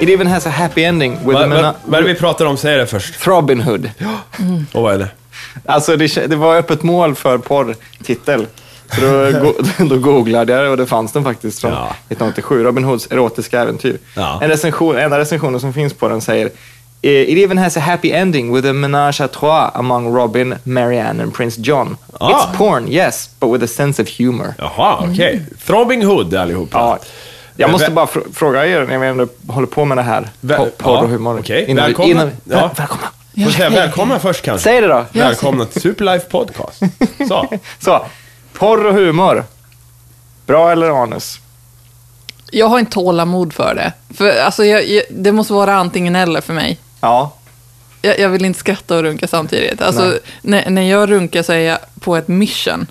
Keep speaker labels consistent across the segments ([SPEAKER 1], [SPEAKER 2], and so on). [SPEAKER 1] It even has a happy ending with
[SPEAKER 2] Vad
[SPEAKER 1] an...
[SPEAKER 2] vad- vad är det vi pratar om? Säg det först.
[SPEAKER 1] Robin Hood.
[SPEAKER 2] Och vad är det?
[SPEAKER 1] Alltså det, kä- det var öppet mål för porrtitel. Så då, go, då googlade jag det och det fanns den faktiskt från
[SPEAKER 2] Ja.
[SPEAKER 1] 1987. Robin Hoods erotiska äventyr.
[SPEAKER 2] Ja.
[SPEAKER 1] En recension, enda recensionen som finns på den säger "Eh, It even has a happy ending with a menage à trois among Robin, Marianne and Prince John.
[SPEAKER 2] Ah.
[SPEAKER 1] It's porn, yes, but with a sense of humor.
[SPEAKER 2] Jaha, okej. Throbbing Hood allihopa.
[SPEAKER 1] Ja. Jag
[SPEAKER 2] Men
[SPEAKER 1] måste
[SPEAKER 2] vä-
[SPEAKER 1] bara fr- fråga er när vi ändå håller på med det här.
[SPEAKER 2] Vä-
[SPEAKER 1] po- Porr
[SPEAKER 2] ja,
[SPEAKER 1] och humor.
[SPEAKER 2] okej.
[SPEAKER 1] Innan vi-
[SPEAKER 2] Välkomna.
[SPEAKER 1] innan vi-
[SPEAKER 2] Ja.
[SPEAKER 1] Väl- Välkomna.
[SPEAKER 2] Får jag säga välkomna först kanske?
[SPEAKER 1] Säg det då.
[SPEAKER 2] Ja, Välkomna till Superlife Podcast. Så.
[SPEAKER 1] Så, porr och humor. Bra eller anus?
[SPEAKER 3] Jag har inte tålamod för det. För, alltså, jag, jag, det måste vara antingen eller för mig.
[SPEAKER 1] Ja.
[SPEAKER 3] Jag, jag vill inte skratta och runka samtidigt. Alltså,
[SPEAKER 1] Nej.
[SPEAKER 3] när, när jag runkar så är jag på ett mission.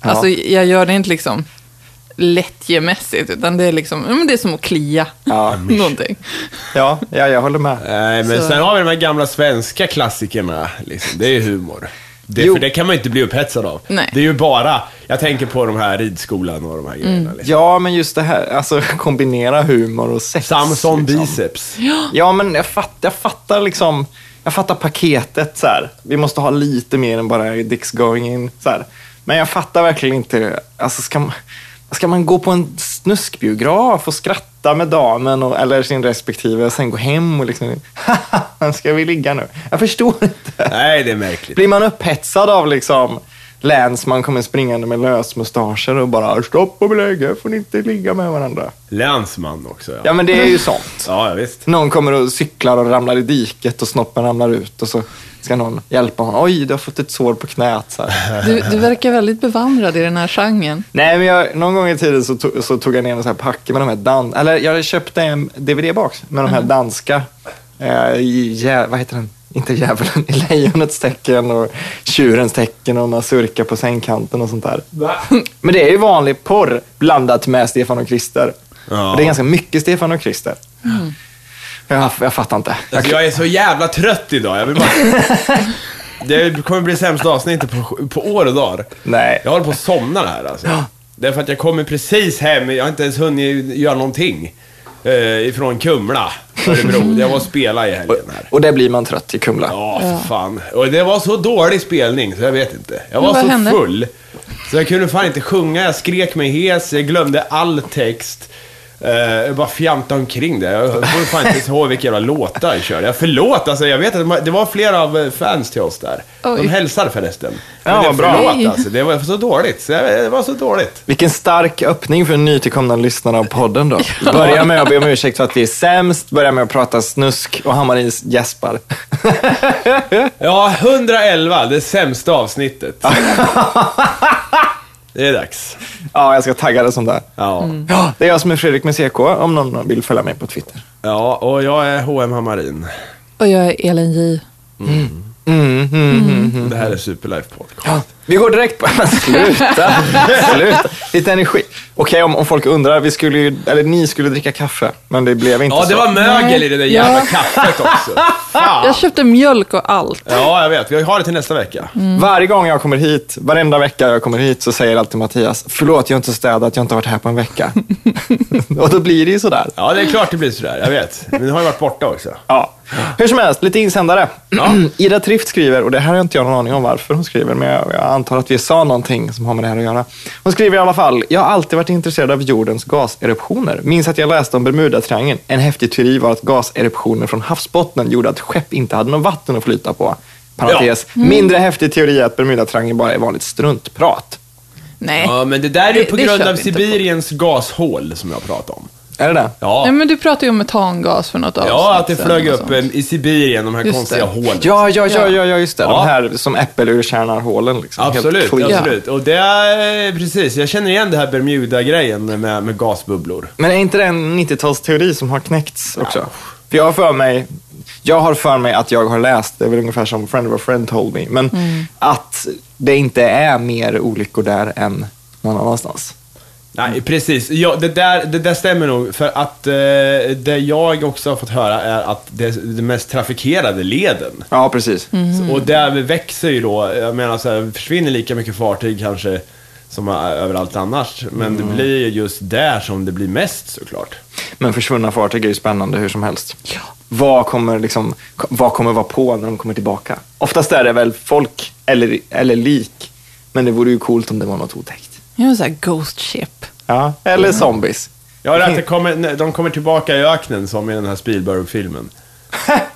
[SPEAKER 3] Alltså, jag gör det inte liksom lättjemässigt, utan det är liksom, ja, men det är som att klia
[SPEAKER 1] Ja.
[SPEAKER 3] någonting.
[SPEAKER 1] Ja, ja, jag håller med.
[SPEAKER 2] Nej, men
[SPEAKER 3] Så.
[SPEAKER 2] sen har vi de här gamla svenska klassikerna. Liksom. Det är ju humor. Det,
[SPEAKER 1] Jo.
[SPEAKER 2] för det kan man ju inte bli upphetsad av.
[SPEAKER 3] Nej.
[SPEAKER 2] Det är ju bara, jag tänker på de här ridskolan och de här grejerna. Liksom.
[SPEAKER 1] Ja, men just det här, alltså kombinera humor och sex.
[SPEAKER 2] Samson
[SPEAKER 1] liksom.
[SPEAKER 2] biceps.
[SPEAKER 1] Ja, men jag, fatt, jag fattar liksom, jag fattar paketet så här. Vi måste ha lite mer än bara dicks going in. Så här. Men jag fattar verkligen inte, alltså ska man, ska man gå på en snuskbiograf och skratta med damen och, eller sin respektive och sen gå hem och liksom, haha, ska vi ligga nu? Jag förstår inte.
[SPEAKER 2] Nej, det är märkligt.
[SPEAKER 1] Blir man upphetsad av liksom länsman kommer springande med lösmustascher och bara stopp och belägg, här får ni inte ligga med varandra.
[SPEAKER 2] Länsman också, ja.
[SPEAKER 1] Ja men det är ju sånt.
[SPEAKER 2] Ja, ja visst.
[SPEAKER 1] Någon kommer och cyklar och ramlar i diket och snoppen ramlar ut och så ska någon hjälpa honom. Oj, du har fått ett sår på knät. Så här.
[SPEAKER 3] Du, du verkar väldigt bevandrad i den här genren.
[SPEAKER 1] Nej, men jag, någon gång i tiden så, to- så tog jag ner en sån här packe med de här dan- Eller jag köpte en DVD box med de här danska, eh, i jä- vad heter den? Inte djävulen, i lejonets tecken och tjurens tecken och mazurka på sängkanten och sånt där. Men det är ju vanlig porr blandat med Stefan och Christer.
[SPEAKER 2] Ja.
[SPEAKER 1] Och Det är ganska mycket Stefan och Christer. Jag, jag fattar inte. Jag,
[SPEAKER 2] Alltså, jag är så jävla trött idag. Jag vill bara... Det kommer bli sämsta avsnittet på, på år och dagar.
[SPEAKER 1] Nej.
[SPEAKER 2] Jag håller på att somna här alltså. Därför att jag kommer precis hem, jag har inte ens hunnit göra någonting. Eh, ifrån Kumla, Örebro. Jag var och spelade i helgen här.
[SPEAKER 1] Och där blir man trött i Kumla.
[SPEAKER 2] Ja, för fan. Och det var så dålig spelning, så jag vet inte. Jag var
[SPEAKER 3] Men vad
[SPEAKER 2] så
[SPEAKER 3] hände?
[SPEAKER 2] full. Så jag kunde fan inte sjunga, jag skrek mig hes, jag glömde all text. Eh, jag bara fjantade omkring det. Jag kommer fan inte ens ihåg vilka jävla låtar jag körde. Jag förlåt, alltså jag vet att det var flera av eh, fans till oss där. De
[SPEAKER 3] Oj.
[SPEAKER 2] hälsade förresten. Men
[SPEAKER 1] Ja,
[SPEAKER 2] det
[SPEAKER 1] vad bra.
[SPEAKER 2] Förlåt,
[SPEAKER 3] Nej.
[SPEAKER 2] alltså. Det var så dåligt. Så jag, det var så dåligt.
[SPEAKER 1] Vilken stark öppning för nytillkomna lyssnare av podden då. Börja med att be om ursäkt för att vi är sämst, börja med att prata snusk och Hammarins gäspar.
[SPEAKER 2] Ja, 111, det sämsta avsnittet. det är dags.
[SPEAKER 1] Ja, jag ska tagga det som det. är.
[SPEAKER 2] Ja.
[SPEAKER 3] Mm.
[SPEAKER 1] Ja, det är jag som är Fredrik med CK, om någon vill följa mig på Twitter.
[SPEAKER 2] ja, och jag är H.M. Hammarin.
[SPEAKER 3] Och jag är Elin J.
[SPEAKER 1] Mm,
[SPEAKER 2] Det här är Superlife Podcast.
[SPEAKER 1] Vi går direkt på... Men sluta! sluta. Lite energi. Okej, om, om folk undrar, vi skulle ju, eller ni skulle dricka kaffe, men det blev inte
[SPEAKER 2] Ja,
[SPEAKER 1] så.
[SPEAKER 2] det var mögel i det där jävla
[SPEAKER 3] Ja.
[SPEAKER 2] kaffet också. Fan.
[SPEAKER 3] Jag köpte mjölk och allt.
[SPEAKER 2] Ja, jag vet. Vi har det till nästa vecka.
[SPEAKER 3] Mm.
[SPEAKER 1] Varje gång jag kommer hit, varenda vecka jag kommer hit, så säger alltid Mattias, förlåt jag har inte städat, jag har inte varit här på en vecka. och då blir det ju sådär.
[SPEAKER 2] Ja, det är klart det blir sådär. Jag vet. Men nu har jag varit borta också.
[SPEAKER 1] Ja. Hur som helst, lite insändare. Ida Trift skriver, och det här har inte jag någon aning om varför hon skriver, men jag, jag antar att vi sa någonting som har med det här att göra. Hon skriver i alla fall, jag har alltid varit intresserad av jordens gaseruptioner. Minns att jag läste om Bermudatriangeln. En häftig teori var att gaseruptioner från havsbottnen gjorde att skepp inte hade något vatten att flyta på. Parentes. Mindre häftig teori är att Bermudatriangeln bara är vanligt struntprat.
[SPEAKER 3] Nej.
[SPEAKER 2] Ja, men det där är ju
[SPEAKER 3] Det-
[SPEAKER 2] på
[SPEAKER 3] det
[SPEAKER 2] grund
[SPEAKER 3] kör
[SPEAKER 2] av
[SPEAKER 3] vi inte på.
[SPEAKER 2] Sibiriens gashål som jag pratade om.
[SPEAKER 1] Är det det?
[SPEAKER 3] Nej,
[SPEAKER 2] Ja,
[SPEAKER 3] men du pratade ju om metangas för något avsnitt
[SPEAKER 2] ja att det
[SPEAKER 3] sen
[SPEAKER 2] flög
[SPEAKER 3] och
[SPEAKER 2] upp
[SPEAKER 3] sånt.
[SPEAKER 2] eh, i Sibirien, de här
[SPEAKER 3] Just
[SPEAKER 2] konstiga
[SPEAKER 3] det.
[SPEAKER 2] hålen.
[SPEAKER 1] Ja, ja, ja, ja, ja just det.
[SPEAKER 2] Ja.
[SPEAKER 1] De här som äppelurkärnarhålen. Liksom. Helt
[SPEAKER 2] Absolut,
[SPEAKER 1] clean.
[SPEAKER 2] absolut. Och det är precis, jag känner igen det här Bermuda-grejen med, med gasbubblor.
[SPEAKER 1] Men är inte det en 90-talsteori som har knäckts också? För jag har för mig, jag har för mig att jag har läst, det är väl ungefär som Friend of a Friend told me, men
[SPEAKER 2] Mm.
[SPEAKER 1] att det inte är mer olyckor där än någon annanstans.
[SPEAKER 2] Nej, precis. Ja, det, där, det där stämmer nog, för att eh, det jag också har fått höra är att det är den mest trafikerade leden.
[SPEAKER 1] Ja, precis.
[SPEAKER 2] Och där växer ju då, jag menar så här, försvinner lika mycket fartyg kanske som eh, överallt annars. Men det blir ju just där som det blir mest såklart.
[SPEAKER 1] Men försvunna fartyg är ju spännande hur som helst. Vad, kommer liksom, vad kommer vara på när de kommer tillbaka? Oftast är det väl folk eller, eller lik. Men det vore ju coolt om det var något otäckt.
[SPEAKER 3] Jag är så här ghost ship.
[SPEAKER 1] Ja, eller zombies.
[SPEAKER 2] Ja, det är att det kommer, de kommer tillbaka i öknen som i den här Spielberg-filmen.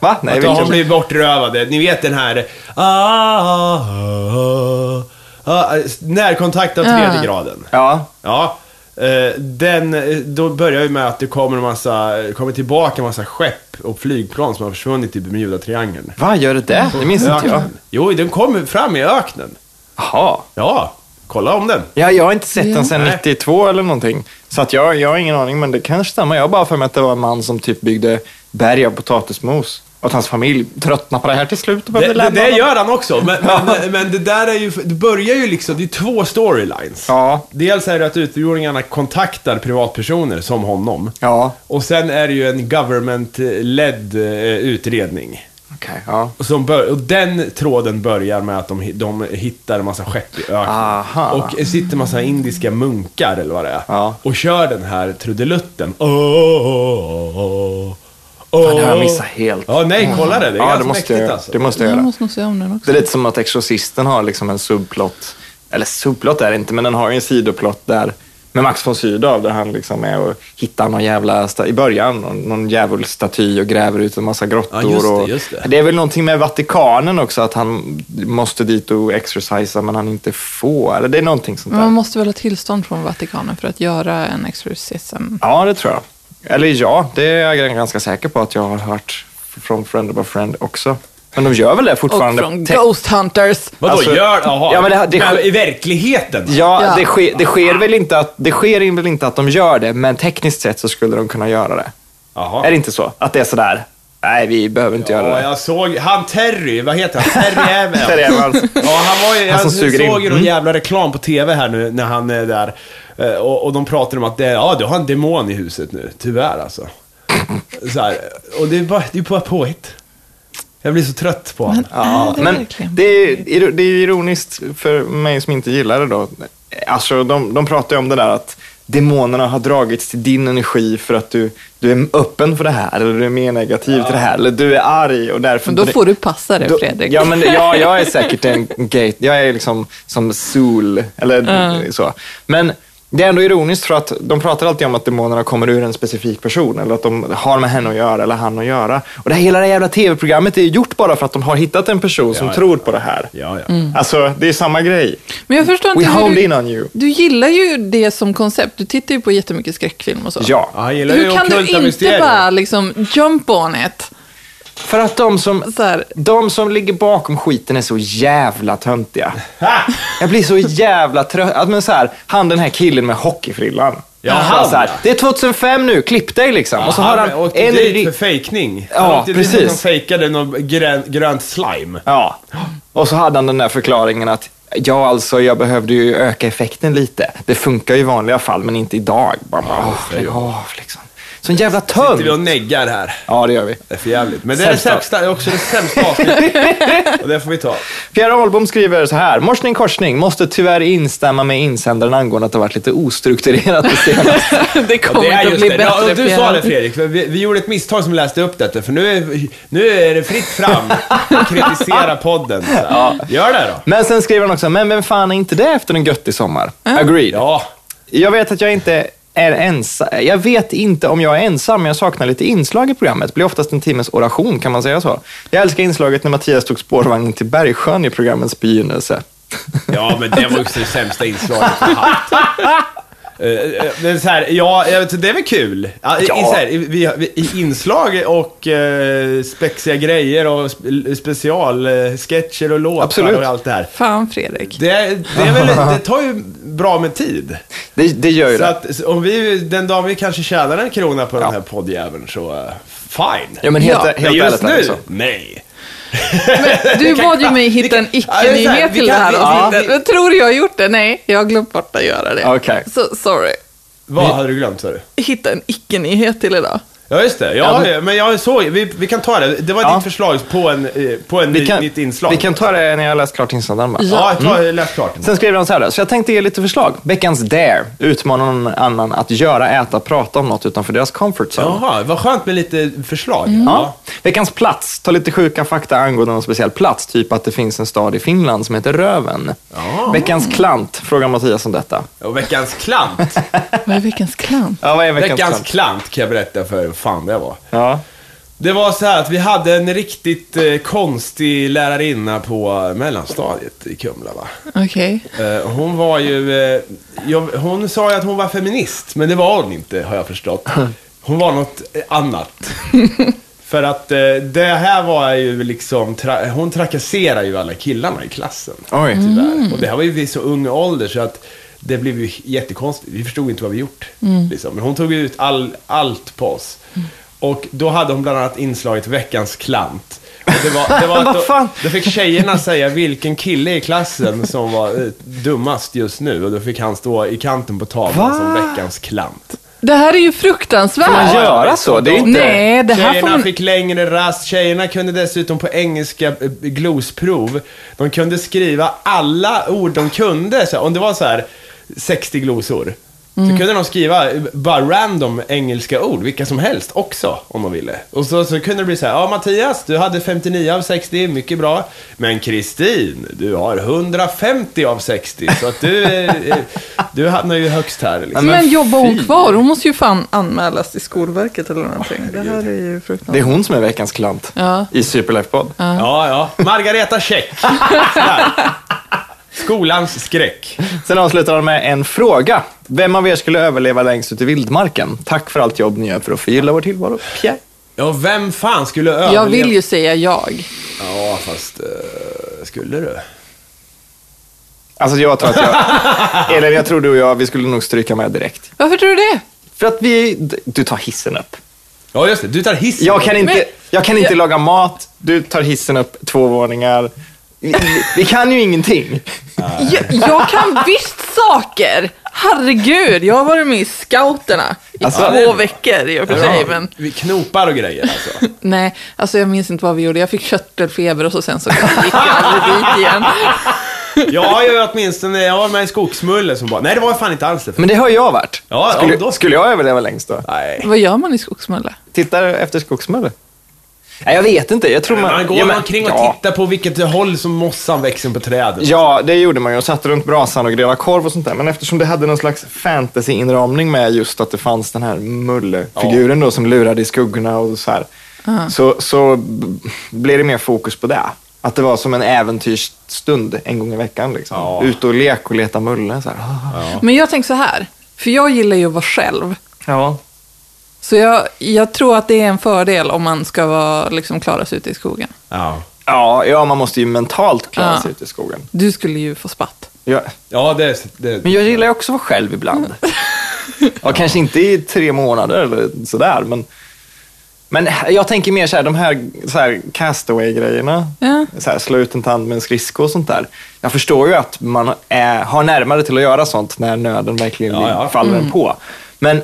[SPEAKER 1] Va? Nej,
[SPEAKER 2] Att de har
[SPEAKER 1] vilken-
[SPEAKER 2] blivit bortrövade. Ni vet den här... Ah, ah, ah, ah, närkontakt av tredje
[SPEAKER 3] Ja.
[SPEAKER 2] graden.
[SPEAKER 1] Ja,
[SPEAKER 2] Ja. eh, Den, eh, då börjar vi med att det kommer, en massa, kommer tillbaka en massa skepp och flygplan som har försvunnit i Bermuda-triangeln.
[SPEAKER 1] vad gör det där? Det minns inte jag.
[SPEAKER 2] Öknen. Jo, den kommer fram i öknen.
[SPEAKER 1] Jaha.
[SPEAKER 2] Ja, kolla om den.
[SPEAKER 1] Ja, jag har inte sett den sedan
[SPEAKER 2] Nej.
[SPEAKER 1] 92 eller någonting. Så att jag, jag har ingen aning, men det kanske stämmer. Jag har bara för mig att det var en man som typ byggde berg av potatismos. Och att hans familj tröttnade på det här till slut och
[SPEAKER 2] Det,
[SPEAKER 1] började
[SPEAKER 2] det,
[SPEAKER 1] lämna
[SPEAKER 2] det
[SPEAKER 1] dem.
[SPEAKER 2] gör han också, men, men, men det där är ju, det börjar ju liksom, det är två storylines.
[SPEAKER 1] Ja,
[SPEAKER 2] Dels är det att utomjordingarna kontaktar privatpersoner som honom.
[SPEAKER 1] ja,
[SPEAKER 2] Och sen är det ju en government-ledd eh, utredning.
[SPEAKER 1] okej. ja.
[SPEAKER 2] Och, som bör, och den tråden börjar med att de, hi- de hittar en massa skepp i öknen.
[SPEAKER 1] Aha.
[SPEAKER 2] Och sitter en massa indiska munkar, eller vad det är,
[SPEAKER 1] Ja.
[SPEAKER 2] och kör den här trudelutten. Åh, åh, åh, åh.
[SPEAKER 1] det har jag missat helt.
[SPEAKER 2] Ja, nej, kolla det. Det är
[SPEAKER 1] Ja,
[SPEAKER 2] ganska
[SPEAKER 1] det måste,
[SPEAKER 2] mäktigt
[SPEAKER 1] jag,
[SPEAKER 2] alltså.
[SPEAKER 1] det måste jag
[SPEAKER 3] Jag
[SPEAKER 1] göra.
[SPEAKER 3] måste nog se om den också.
[SPEAKER 1] Det är lite som att Exorcisten har liksom en subplott. Eller subplott är det inte, men den har ju en sidoplott där med Max von Sydow där han liksom är och hittar någon jävla, sta- i början, någon, någon djävulstaty och gräver ut en massa grottor.
[SPEAKER 2] Ja, just det,
[SPEAKER 1] och,
[SPEAKER 2] just det.
[SPEAKER 1] är väl någonting med Vatikanen också, att han måste dit och exercisa men han inte får. Eller det är någonting sånt
[SPEAKER 3] Men
[SPEAKER 1] där.
[SPEAKER 3] man måste väl ha tillstånd från Vatikanen för att göra en exorcism?
[SPEAKER 1] Ja, det tror jag. Eller ja, det är jag ganska säker på att jag har hört från Friend of a Friend också. Men de gör väl det
[SPEAKER 3] Och
[SPEAKER 1] fortfarande.
[SPEAKER 3] från
[SPEAKER 1] Te-
[SPEAKER 3] Ghost Hunters!
[SPEAKER 2] Vadå,
[SPEAKER 1] Alltså-
[SPEAKER 2] gör... Jaha.
[SPEAKER 1] Ja, men det- det-
[SPEAKER 2] i verkligheten?
[SPEAKER 1] Ja,
[SPEAKER 3] Ja.
[SPEAKER 1] Det, sker, det sker väl inte att, det sker väl inte att de gör det, men tekniskt sett så skulle de kunna göra det.
[SPEAKER 2] Jaha.
[SPEAKER 1] Är det inte så? Att det är sådär, nej vi behöver inte göra
[SPEAKER 2] Ja,
[SPEAKER 1] det.
[SPEAKER 2] jag såg... Han Terry, vad heter han? Terry Evans.
[SPEAKER 1] Där är man alltså.
[SPEAKER 2] Ja, han var ju,
[SPEAKER 1] Han
[SPEAKER 2] jag
[SPEAKER 1] som suger in.
[SPEAKER 2] såg ju någon
[SPEAKER 1] Mm.
[SPEAKER 2] jävla reklam på TV här nu när han är där. Eh, Och, och de pratar om att det, ja, du har en demon i huset nu. Tyvärr alltså. Så här, och det är bara, det är bara påhitt. Jag blir så trött på honom.
[SPEAKER 1] Ja,
[SPEAKER 3] det är
[SPEAKER 1] men
[SPEAKER 3] verkligen.
[SPEAKER 1] det är, iro- det är ju ironiskt för mig som inte gillar det då. Alltså, de, de pratar ju om det där att demonerna har dragits till din energi för att du, du är öppen för det här, eller du är mer negativ till det här, eller du är arg och därför...
[SPEAKER 3] Men då får du passa dig,
[SPEAKER 1] Då-
[SPEAKER 3] Fredrik.
[SPEAKER 1] Ja, men det- ja, jag är säkert en gate. Jag är liksom som sol eller så. Men det är ändå ironiskt för att de pratar alltid om att demonerna kommer ur en specifik person eller att de har med henne att göra eller han att göra. Och det här, hela det jävla tv-programmet är ju gjort bara för att de har hittat en person som
[SPEAKER 2] Ja, ja.
[SPEAKER 1] tror på det här.
[SPEAKER 2] Ja, ja.
[SPEAKER 3] Mm.
[SPEAKER 1] Alltså, det är samma grej.
[SPEAKER 3] Men jag förstår
[SPEAKER 1] We
[SPEAKER 3] inte hur
[SPEAKER 1] honed in
[SPEAKER 3] du,
[SPEAKER 1] on you.
[SPEAKER 3] du gillar ju det som koncept. Du tittar ju på jättemycket skräckfilm och så.
[SPEAKER 1] Ja.
[SPEAKER 2] Ja, Han gillar ju
[SPEAKER 3] Hur kan du
[SPEAKER 2] ockulta
[SPEAKER 3] inte
[SPEAKER 2] mysterier.
[SPEAKER 3] bara liksom jump on it?
[SPEAKER 1] För att de som,
[SPEAKER 3] Så här.
[SPEAKER 1] de som ligger bakom skiten är så jävla töntiga. Jag blir så jävla trött. Att, Men så här, han den här killen med hockeyfrillan.
[SPEAKER 2] Ja,
[SPEAKER 1] Han
[SPEAKER 2] han,
[SPEAKER 1] så här,
[SPEAKER 2] ja.
[SPEAKER 1] det är 2005 nu, klipp dig liksom. och så har han
[SPEAKER 2] åkte
[SPEAKER 1] en
[SPEAKER 2] dit
[SPEAKER 1] ri-
[SPEAKER 2] för fejkning.
[SPEAKER 1] Ja,
[SPEAKER 2] han åkte dit för att
[SPEAKER 1] precis.
[SPEAKER 2] de fejkade någon grön, grönt slime.
[SPEAKER 1] Ja. Och så hade han den där förklaringen att ja, alltså jag behövde ju öka effekten lite. Det funkar ju i vanliga fall, men inte idag. Bara, åh,
[SPEAKER 2] det är ju-
[SPEAKER 1] lägg av liksom. Sån jävla
[SPEAKER 2] Sitter vi och
[SPEAKER 1] tönt.
[SPEAKER 2] neggar här.
[SPEAKER 1] Ja, det gör vi.
[SPEAKER 2] Det är för jävligt. Men det är det
[SPEAKER 1] Sämsta.
[SPEAKER 2] sämsta, det är också det sämsta avsnittet. Och det får vi ta.
[SPEAKER 1] Pierre Ahlbom skriver så här. Morsning korsning måste tyvärr instämma med insändaren angående att det varit lite ostrukturerat det senaste.
[SPEAKER 3] det kommer
[SPEAKER 2] Det är
[SPEAKER 3] inte att
[SPEAKER 2] just
[SPEAKER 3] bli
[SPEAKER 2] det.
[SPEAKER 3] bättre.
[SPEAKER 2] Ja, och du sa
[SPEAKER 3] Pierre.
[SPEAKER 2] det Fredrik, för vi, vi gjorde ett misstag som läste upp detta, för nu är, nu är det fritt fram att kritisera podden. Så, Gör det då.
[SPEAKER 1] Men sen skriver han också, men vem fan är inte det efter en göttig sommar? Agreed.
[SPEAKER 2] Ja.
[SPEAKER 1] Jag vet att jag inte är ensam. Jag vet inte om jag är ensam, men jag saknar lite inslag i programmet. Det blir oftast en timmes oration, kan man säga så? Jag älskar inslaget när Mattias tog spårvagnen till Bergsjön i programmets begynnelse.
[SPEAKER 2] ja, men det var också det sämsta inslaget jag haft. Eh, eh, Men så här, ja, jag vet, det är väl kul? Ja, i- I,
[SPEAKER 1] Ja.
[SPEAKER 2] så här, i, vi, vi- i inslag och eh, spexiga grejer och spe, specialsketcher och låtar
[SPEAKER 1] Absolut.
[SPEAKER 2] och allt det här.
[SPEAKER 3] Fan, Fredrik.
[SPEAKER 2] Det, det, är väl, det tar ju bra med tid.
[SPEAKER 1] Det, det gör ju
[SPEAKER 2] Så
[SPEAKER 1] det.
[SPEAKER 2] att om vi, den dagen vi kanske tjänar en krona på den här poddjäveln så eh, fine.
[SPEAKER 1] Ja, men helt,
[SPEAKER 3] Ja.
[SPEAKER 1] helt
[SPEAKER 2] men just
[SPEAKER 1] ärligt alltså. är
[SPEAKER 2] nu,
[SPEAKER 1] det så.
[SPEAKER 2] nej.
[SPEAKER 3] Du bad ju mig hitta en
[SPEAKER 2] Ja, det är så här,
[SPEAKER 3] icke-nyhet
[SPEAKER 2] vi
[SPEAKER 3] till det
[SPEAKER 2] kan-
[SPEAKER 3] här
[SPEAKER 2] vi-
[SPEAKER 3] avsnittet.
[SPEAKER 2] vi-
[SPEAKER 3] Jag tror jag har gjort det. Nej, jag har glömt bort att göra det.
[SPEAKER 1] Okej.
[SPEAKER 3] Så sorry.
[SPEAKER 2] Vad hade du glömt sa du?
[SPEAKER 3] Hitta en icke-nyhet till idag.
[SPEAKER 2] Ja, just det.
[SPEAKER 1] Ja,
[SPEAKER 2] Ja,
[SPEAKER 1] men-
[SPEAKER 2] men jag såg, vi, vi kan ta det. Det var
[SPEAKER 1] Ja.
[SPEAKER 2] ditt förslag på, en, eh, på en,
[SPEAKER 1] Vi kan,
[SPEAKER 2] nytt inslag.
[SPEAKER 1] vi kan ta det när jag har läst klart insändaren bara.
[SPEAKER 2] Ja, jag tar, läs klart.
[SPEAKER 1] Sen skriver de så här då, så jag tänkte ge lite förslag. Veckans Dare utmanar någon annan att göra, äta, prata om något utanför deras comfort zone.
[SPEAKER 2] Jaha, vad skönt med lite förslag.
[SPEAKER 1] Ja. Veckans plats. Ta lite sjuka fakta angående någon speciell plats. Typ att det finns en stad i Finland som heter Röven. Veckans klant. Frågar Mattias om detta.
[SPEAKER 2] Och veckans klant.
[SPEAKER 3] Vad är veckans klant?
[SPEAKER 1] Ja, vad är veckans,
[SPEAKER 2] veckans
[SPEAKER 1] klant?
[SPEAKER 2] klant kan jag berätta för hur fan det var.
[SPEAKER 1] Ja.
[SPEAKER 2] Det var så här att vi hade en riktigt eh, konstig lärarinna på mellanstadiet i Kumla va.
[SPEAKER 3] Okej.
[SPEAKER 2] Eh, hon var ju, eh, jag, hon sa ju att hon var feminist, men det var hon inte har jag förstått. Hon var något eh, annat. För att eh, det här var ju liksom, tra- hon trakasserar ju alla killarna i klassen.
[SPEAKER 1] Oj.
[SPEAKER 2] Tyvärr.
[SPEAKER 1] Mm.
[SPEAKER 2] Och det här var ju vid så ung ålder så att det blev ju jättekonstigt. Vi förstod inte vad vi gjort.
[SPEAKER 1] Mm.
[SPEAKER 2] Liksom. Men hon tog ju ut all, allt på oss. Och då hade hon bland annat inslaget Veckans klant. Och det var, det var
[SPEAKER 1] Vad
[SPEAKER 2] att
[SPEAKER 1] fan?
[SPEAKER 2] då, då fick tjejerna säga vilken kille i klassen som var eh, dummast just nu. Och då fick han stå i kanten på tavlan
[SPEAKER 1] Va?
[SPEAKER 2] som Veckans klant.
[SPEAKER 3] Det här är ju fruktansvärt.
[SPEAKER 1] man göra så? Det är inte-
[SPEAKER 3] Nej, det här får
[SPEAKER 2] Tjejerna
[SPEAKER 3] man...
[SPEAKER 2] fick längre rast, tjejerna kunde dessutom på engelska eh, glosprov, de kunde skriva alla ord de kunde. Så här, om det var så här 60 glosor,
[SPEAKER 3] Mm.
[SPEAKER 2] så kunde de skriva eh, bara random engelska ord, vilka som helst också, om de ville. Och så, så kunde det bli så här, ja Mattias, du hade 59 av 60, mycket bra. Men Kristin, du har 150 av 60, så att du, eh, eh, du hamnar ju högst här. Liksom.
[SPEAKER 3] Men,
[SPEAKER 1] Men
[SPEAKER 3] jobbar hon
[SPEAKER 1] fy.
[SPEAKER 3] kvar? Hon måste ju fan anmälas till Skolverket eller någonting. Det här är ju
[SPEAKER 1] Det är
[SPEAKER 3] fruktansvärt.
[SPEAKER 1] hon som är veckans klant
[SPEAKER 3] Ja.
[SPEAKER 1] i Superlife-podd.
[SPEAKER 2] Ja, ja. Margareta Käck. Sådär. Skolans skräck.
[SPEAKER 1] Sen avslutar de med en fråga. Vem av er skulle överleva längst ut i vildmarken? Tack för allt jobb ni gör för att förgylla vår tillvaro. Pierre.
[SPEAKER 2] Ja, vem fan skulle överleva?
[SPEAKER 3] Jag vill ju säga jag.
[SPEAKER 2] Ja, fast eh, skulle du?
[SPEAKER 1] Alltså jag tror att jag... Eller jag tror du och jag, vi skulle nog stryka med direkt.
[SPEAKER 3] Varför tror du det?
[SPEAKER 1] För att vi... Du tar hissen upp.
[SPEAKER 2] Ja, just det. Du tar hissen.
[SPEAKER 1] Jag kan inte,
[SPEAKER 3] Men-
[SPEAKER 1] jag kan inte laga mat, du tar hissen upp två våningar. Vi, vi- vi kan ju ingenting.
[SPEAKER 3] Jag, jag kan visst saker! Herregud, jag har varit med i scouterna i
[SPEAKER 1] Alltså,
[SPEAKER 3] två veckor i och för sig.
[SPEAKER 2] Ja,
[SPEAKER 3] Men,
[SPEAKER 2] Vi knopar och grejer alltså.
[SPEAKER 3] nej, alltså jag minns inte vad vi gjorde. Jag fick körtelfeber och så sen så gick jag aldrig dit igen.
[SPEAKER 2] Jag har ju åtminstone, jag var med i Skogsmulle som bara, nej det var jag fan inte alls det.
[SPEAKER 1] Men det har jag varit.
[SPEAKER 2] Ja, ja,
[SPEAKER 1] skulle,
[SPEAKER 2] då-
[SPEAKER 1] skulle jag överleva längst då?
[SPEAKER 2] Nej.
[SPEAKER 3] Vad gör man i Skogsmulle?
[SPEAKER 1] Tittar efter skogsmulle? Nej, jag vet inte. Jag tror man...
[SPEAKER 2] Man går
[SPEAKER 1] ja, men-
[SPEAKER 2] omkring och
[SPEAKER 1] ja.
[SPEAKER 2] tittar på vilket håll som mossan växer på träden.
[SPEAKER 1] Ja, det gjorde man ju. Och satt runt brasan och grillade korv och sånt där. Men eftersom det hade någon slags fantasy-inramning med just att det fanns den här mullefiguren då som lurade i skuggorna och så här. Så, så b- blev det mer fokus på det. Att det var som en äventyrsstund en gång i veckan. Liksom.
[SPEAKER 2] Ja.
[SPEAKER 1] Ut och lek och leta mulle. Så här.
[SPEAKER 3] Men jag tänker så här, för jag gillar ju att vara själv.
[SPEAKER 1] Ja.
[SPEAKER 3] Så jag, jag tror att det är en fördel om man ska vara, liksom, klara sig ute i skogen.
[SPEAKER 2] Ja,
[SPEAKER 1] Ja, ja, man måste ju mentalt klara
[SPEAKER 3] Ja.
[SPEAKER 1] sig ute i skogen.
[SPEAKER 3] Du skulle ju få spatt.
[SPEAKER 1] Jag,
[SPEAKER 2] ja det, det...
[SPEAKER 1] men jag gillar ju också att vara själv ibland. Ja, kanske inte i tre månader eller sådär, men... Men jag tänker mer så här, de här, så här castaway-grejerna.
[SPEAKER 3] Ja.
[SPEAKER 1] Så här, slå ut en tand med en skridsko och sånt där. Jag förstår ju att man är, har närmare till att göra sånt när nöden verkligen
[SPEAKER 2] Ja, ja.
[SPEAKER 1] faller en på. Men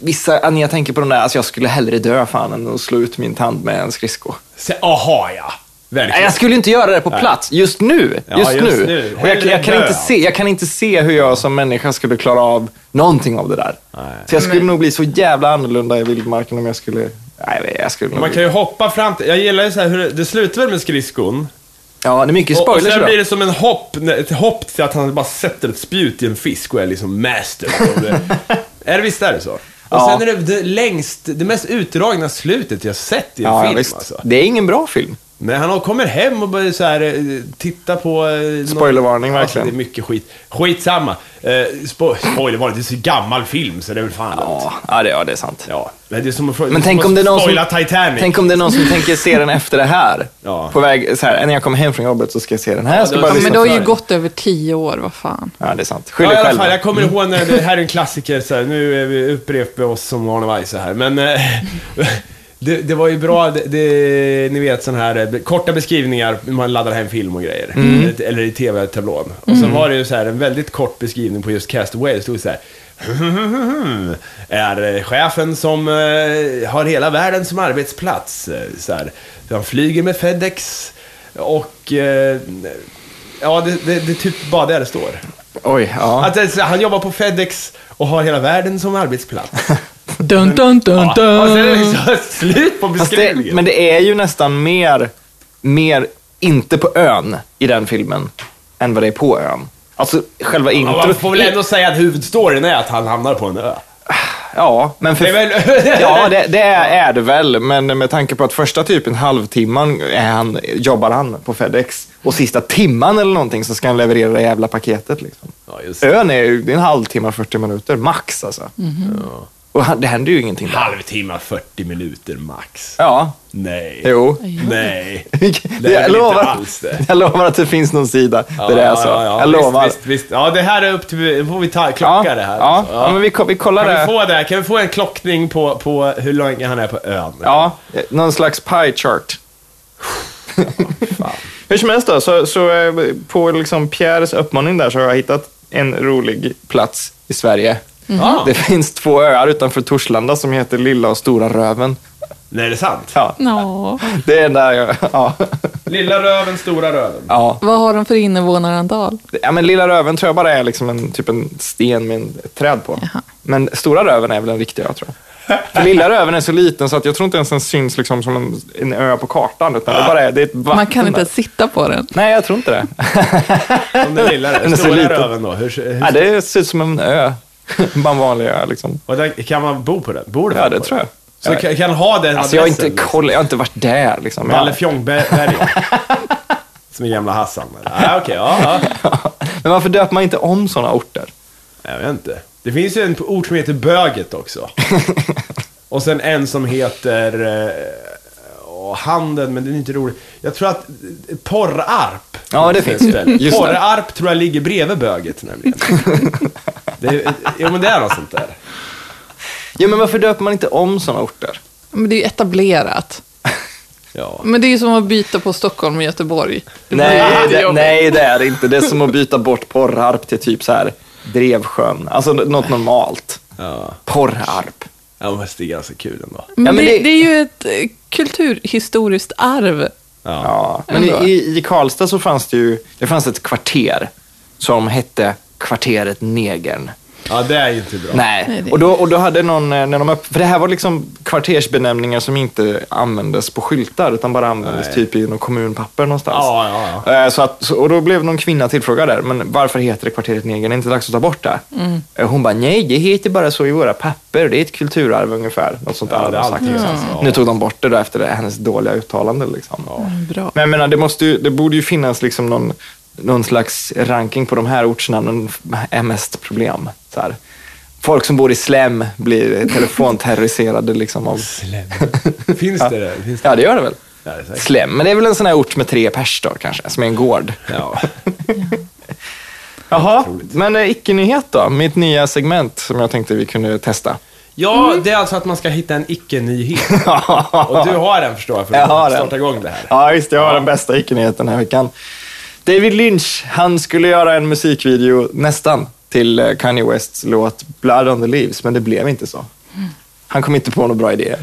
[SPEAKER 1] vissa, när jag tänker på de där, alltså jag skulle hellre dö fan än att slå ut min tand med en skridsko.
[SPEAKER 2] Se- Aha ja.
[SPEAKER 1] Nej,
[SPEAKER 2] Verkligen.
[SPEAKER 1] jag skulle inte göra det på plats just nu.
[SPEAKER 2] Ja,
[SPEAKER 1] just
[SPEAKER 2] just
[SPEAKER 1] nu.
[SPEAKER 2] nu.
[SPEAKER 1] Och jag, jag, kan
[SPEAKER 2] Hellre
[SPEAKER 1] inte
[SPEAKER 2] dö.
[SPEAKER 1] se, jag kan inte se hur jag som människa skulle klara av någonting av det där. Så jag skulle nog bli så jävla annorlunda i vildmarken om jag skulle... Nej, jag skulle nog...
[SPEAKER 2] Man kan ju hoppa fram till, jag gillar ju så här hur det, det slutar väl med skridskon.
[SPEAKER 1] Ja, det är mycket
[SPEAKER 2] Och, och
[SPEAKER 1] spoilers
[SPEAKER 2] sen blir
[SPEAKER 1] idag.
[SPEAKER 2] det som en hopp, ett hopp till att han bara sätter ett spjut i en fisk och är liksom master. Och det- är det visst är det så? Och
[SPEAKER 1] Ja.
[SPEAKER 2] sen är det det längst, det mest utdragna slutet jag sett i en
[SPEAKER 1] Ja, ja,
[SPEAKER 2] film
[SPEAKER 1] visst.
[SPEAKER 2] alltså.
[SPEAKER 1] Det är ingen bra film.
[SPEAKER 2] Men han kommer hem och börjar så här eh, titta på... eh, någon-
[SPEAKER 1] Spoilervarning,
[SPEAKER 2] Alltså,
[SPEAKER 1] verkligen.
[SPEAKER 2] det är mycket skit. Skitsamma. Eh, spo spoilervarning, det är så gammal film så det är väl fan lugnt.
[SPEAKER 1] Ja, ja, det, ja det är sant.
[SPEAKER 2] Ja. Men det är som att,
[SPEAKER 1] Men tänk om, det är någon som,
[SPEAKER 2] spoila Titanic.
[SPEAKER 1] tänk om det är någon som tänker se den efter det här.
[SPEAKER 2] Ja.
[SPEAKER 1] På väg, så här, när jag kommer hem från jobbet så ska jag se den här. Jag ska
[SPEAKER 2] det-
[SPEAKER 1] bara
[SPEAKER 2] ja,
[SPEAKER 3] Men
[SPEAKER 1] lyssna
[SPEAKER 3] det har
[SPEAKER 1] på
[SPEAKER 3] ju
[SPEAKER 1] den.
[SPEAKER 3] gått över tio år, vad fan.
[SPEAKER 1] Ja, det är sant. Skyll
[SPEAKER 2] Ja, i
[SPEAKER 1] dig
[SPEAKER 2] alla
[SPEAKER 1] själv.
[SPEAKER 2] fall, jag kommer ihåg när det här är en klassiker, så här, nu är vi upprepar oss som Arne Weise här, men eh, Det, det var ju bra, det, det, ni vet sån här eh, korta beskrivningar, hur man laddar hem film och grejer. Eller, eller i tv-tablån. Och sen var det ju så här en väldigt kort beskrivning på just Castaway. Det stod så här. Är eh, chefen som eh, har hela världen som arbetsplats. eh, Så här. Han flyger med FedEx och... eh, Ja, det, det, det är typ bara där det står.
[SPEAKER 1] Oj, ja.
[SPEAKER 2] Att, det är så här, han jobbar på FedEx och har hela världen som arbetsplats.
[SPEAKER 3] Dun, dun, dun,
[SPEAKER 2] Ja, och sen är det
[SPEAKER 3] dun.
[SPEAKER 2] liksom slut på
[SPEAKER 1] Fast det,
[SPEAKER 2] beskrivningen.
[SPEAKER 1] men det är ju nästan mer, mer inte på ön i den filmen än vad det är på ön. Alltså själva
[SPEAKER 2] Ja, man får väl
[SPEAKER 1] introt.
[SPEAKER 2] ändå säga att huvudstoryn är att han hamnar på en ö.
[SPEAKER 1] Ja, men för...
[SPEAKER 2] Det är väl...
[SPEAKER 1] Ja, det, det är, är det väl, men med tanke på att första typen halvtimman är han, jobbar han på FedEx och sista timman eller någonting så ska han leverera det jävla paketet. Liksom.
[SPEAKER 2] Ja, just det.
[SPEAKER 1] Ön är ju det är en halvtimme, 40 minuter max alltså.
[SPEAKER 2] Ja.
[SPEAKER 1] Och han, det händer ju ingenting där.
[SPEAKER 2] Halvtimme, 40 minuter max.
[SPEAKER 1] Ja,
[SPEAKER 2] Nej.
[SPEAKER 1] jo.
[SPEAKER 2] Nej. väl inte
[SPEAKER 1] jag, lovar,
[SPEAKER 2] alls det.
[SPEAKER 1] jag lovar att det finns någon sida där det är så.
[SPEAKER 2] Ja, ja,
[SPEAKER 1] jag lovar.
[SPEAKER 2] Visst, visst, visst. Ja, det här är upp till... Nu får vi ta, klocka det här.
[SPEAKER 1] Ja,
[SPEAKER 2] alltså.
[SPEAKER 1] ja. men vi, ko- vi kollar
[SPEAKER 2] Kan vi
[SPEAKER 1] det.
[SPEAKER 2] få det? Kan vi få en klockning på, på hur länge han är på ön?
[SPEAKER 1] Ja, någon slags pie chart. Hur som helst då, så, så eh, på liksom Pierres uppmaning där så har jag hittat en rolig plats i Sverige.
[SPEAKER 2] Ah,
[SPEAKER 1] Det finns två öar utanför Torslanda som heter Lilla och Stora Röven.
[SPEAKER 2] Nej, det är sant.
[SPEAKER 1] Ja,
[SPEAKER 3] Nå.
[SPEAKER 1] det är där jag... Ja.
[SPEAKER 2] Lilla röven, stora röven.
[SPEAKER 1] Ja.
[SPEAKER 3] Vad har de för invånarantal?
[SPEAKER 1] ja, men Lilla Röven tror jag bara är liksom en, typ en sten med en- ett träd på.
[SPEAKER 3] Jaha.
[SPEAKER 1] Men Stora Röven är väl den riktiga, jag tror För Lilla Röven är så liten så att jag tror inte ens den syns liksom som en, en ö på kartan. Utan det bara är, det är ett vatten
[SPEAKER 3] Man kan inte
[SPEAKER 1] där.
[SPEAKER 3] ens sitta på den.
[SPEAKER 1] Nej, jag tror inte det.
[SPEAKER 2] Om den lilla
[SPEAKER 1] Den är
[SPEAKER 2] röven.
[SPEAKER 1] så
[SPEAKER 2] Stora
[SPEAKER 1] liten.
[SPEAKER 2] röven då? Hur, hur,
[SPEAKER 1] Nej, det ser ut som en ö. Bara en vanlig ö liksom.
[SPEAKER 2] Och där, kan man bo på den? Bor
[SPEAKER 1] Ja,
[SPEAKER 2] folk
[SPEAKER 1] det
[SPEAKER 2] på
[SPEAKER 1] tror jag.
[SPEAKER 2] den? Så kan, kan ha den
[SPEAKER 1] Alltså jag har inte
[SPEAKER 2] adressen, liksom?
[SPEAKER 1] koll, jag har inte varit där liksom.
[SPEAKER 2] Valle
[SPEAKER 1] Jag,
[SPEAKER 2] Fjongberg. Som är gamla Hassan. eller? Ah, Okej, ja, ja.
[SPEAKER 1] men varför döper man inte om sådana orter?
[SPEAKER 2] Jag vet inte. Det finns ju en ort som heter Böget också. Och sen en som heter... Eh, åh, handen, men den är inte rolig. Jag tror att eh, Porrarp.
[SPEAKER 1] Ja, det
[SPEAKER 2] finns
[SPEAKER 1] finns
[SPEAKER 2] ett
[SPEAKER 1] ju.
[SPEAKER 2] ställe.
[SPEAKER 1] Just det.
[SPEAKER 2] Porrarp tror jag ligger bredvid Böget nämligen. Det är, eh, jo, men det är något sånt där.
[SPEAKER 1] Jo, men varför döper man inte om sådana orter?
[SPEAKER 3] Men det är ju etablerat.
[SPEAKER 2] Ja.
[SPEAKER 3] Men det är ju som att byta på Stockholm och Göteborg. Det
[SPEAKER 1] Nej
[SPEAKER 3] blir
[SPEAKER 1] det,
[SPEAKER 3] jättejobbigt.
[SPEAKER 1] nej, det är det inte. Det är som att byta bort Porrarp till typ så här Drevsjön. Alltså något normalt.
[SPEAKER 2] Ja,
[SPEAKER 1] Porrarp.
[SPEAKER 2] ja men det är ganska kul ändå.
[SPEAKER 3] Men
[SPEAKER 1] Ja, men
[SPEAKER 3] det,
[SPEAKER 1] det-
[SPEAKER 3] det är ju ett eh, kulturhistoriskt arv.
[SPEAKER 2] Ja.
[SPEAKER 1] Ja. Men
[SPEAKER 3] Ändå.
[SPEAKER 1] i, i, i Karlstad så fanns det ju det fanns ett kvarter som hette Kvarteret Negern.
[SPEAKER 2] ja, det är ju inte bra.
[SPEAKER 1] Nej,
[SPEAKER 3] Nej, det-
[SPEAKER 1] och då, och då hade någon, eh, när de upp, för det här var liksom kvartersbenämningar som inte användes på skyltar utan bara användes
[SPEAKER 2] Nej.
[SPEAKER 1] typ i någon kommunpapper någonstans.
[SPEAKER 2] Ja, ja,
[SPEAKER 1] Eh, Så att, så- och då blev någon kvinna tillfrågad där, men varför heter det kvarteret Negern? Är det inte dags att ta bort det?
[SPEAKER 2] Mm.
[SPEAKER 1] Eh, Hon bara, nej, det heter bara så i våra papper. Det är ett kulturarv ungefär. Något sånt där.
[SPEAKER 2] Ja,
[SPEAKER 1] hade
[SPEAKER 2] det är
[SPEAKER 1] hon sagt,
[SPEAKER 2] alltid
[SPEAKER 1] liksom.
[SPEAKER 2] så. Ja.
[SPEAKER 1] Nu tog de bort det då efter det, hennes dåliga uttalande. Liksom.
[SPEAKER 3] Bra.
[SPEAKER 1] Men jag menar, det, måste ju, det borde ju finnas liksom någon, någon slags ranking på de här ortsnamnen är mest problem. Så här. Folk som bor i slem blir telefonterroriserade liksom av...
[SPEAKER 2] Slem. Finns det det? Finns det?
[SPEAKER 1] Ja, det gör det väl.
[SPEAKER 2] Ja, det är säkert.
[SPEAKER 1] Slem, men det är väl en sån här ort med tre pers då kanske, som är en gård.
[SPEAKER 2] Ja.
[SPEAKER 1] Jaha, men eh, icke-nyhet då? Mitt nya segment som jag tänkte vi kunde testa.
[SPEAKER 2] Ja, det är alltså att man ska hitta en icke-nyhet. Och du har den förstår jag, för
[SPEAKER 1] Jag har
[SPEAKER 2] att
[SPEAKER 1] den.
[SPEAKER 2] starta igång det här.
[SPEAKER 1] Ja, just det. Jag har den bästa icke-nyheten den här veckan. David Lynch, han skulle göra en musikvideo, nästan, till eh, Kanye Wests låt Blood on the Leaves, men det blev inte så. Han kom inte på några bra idéer.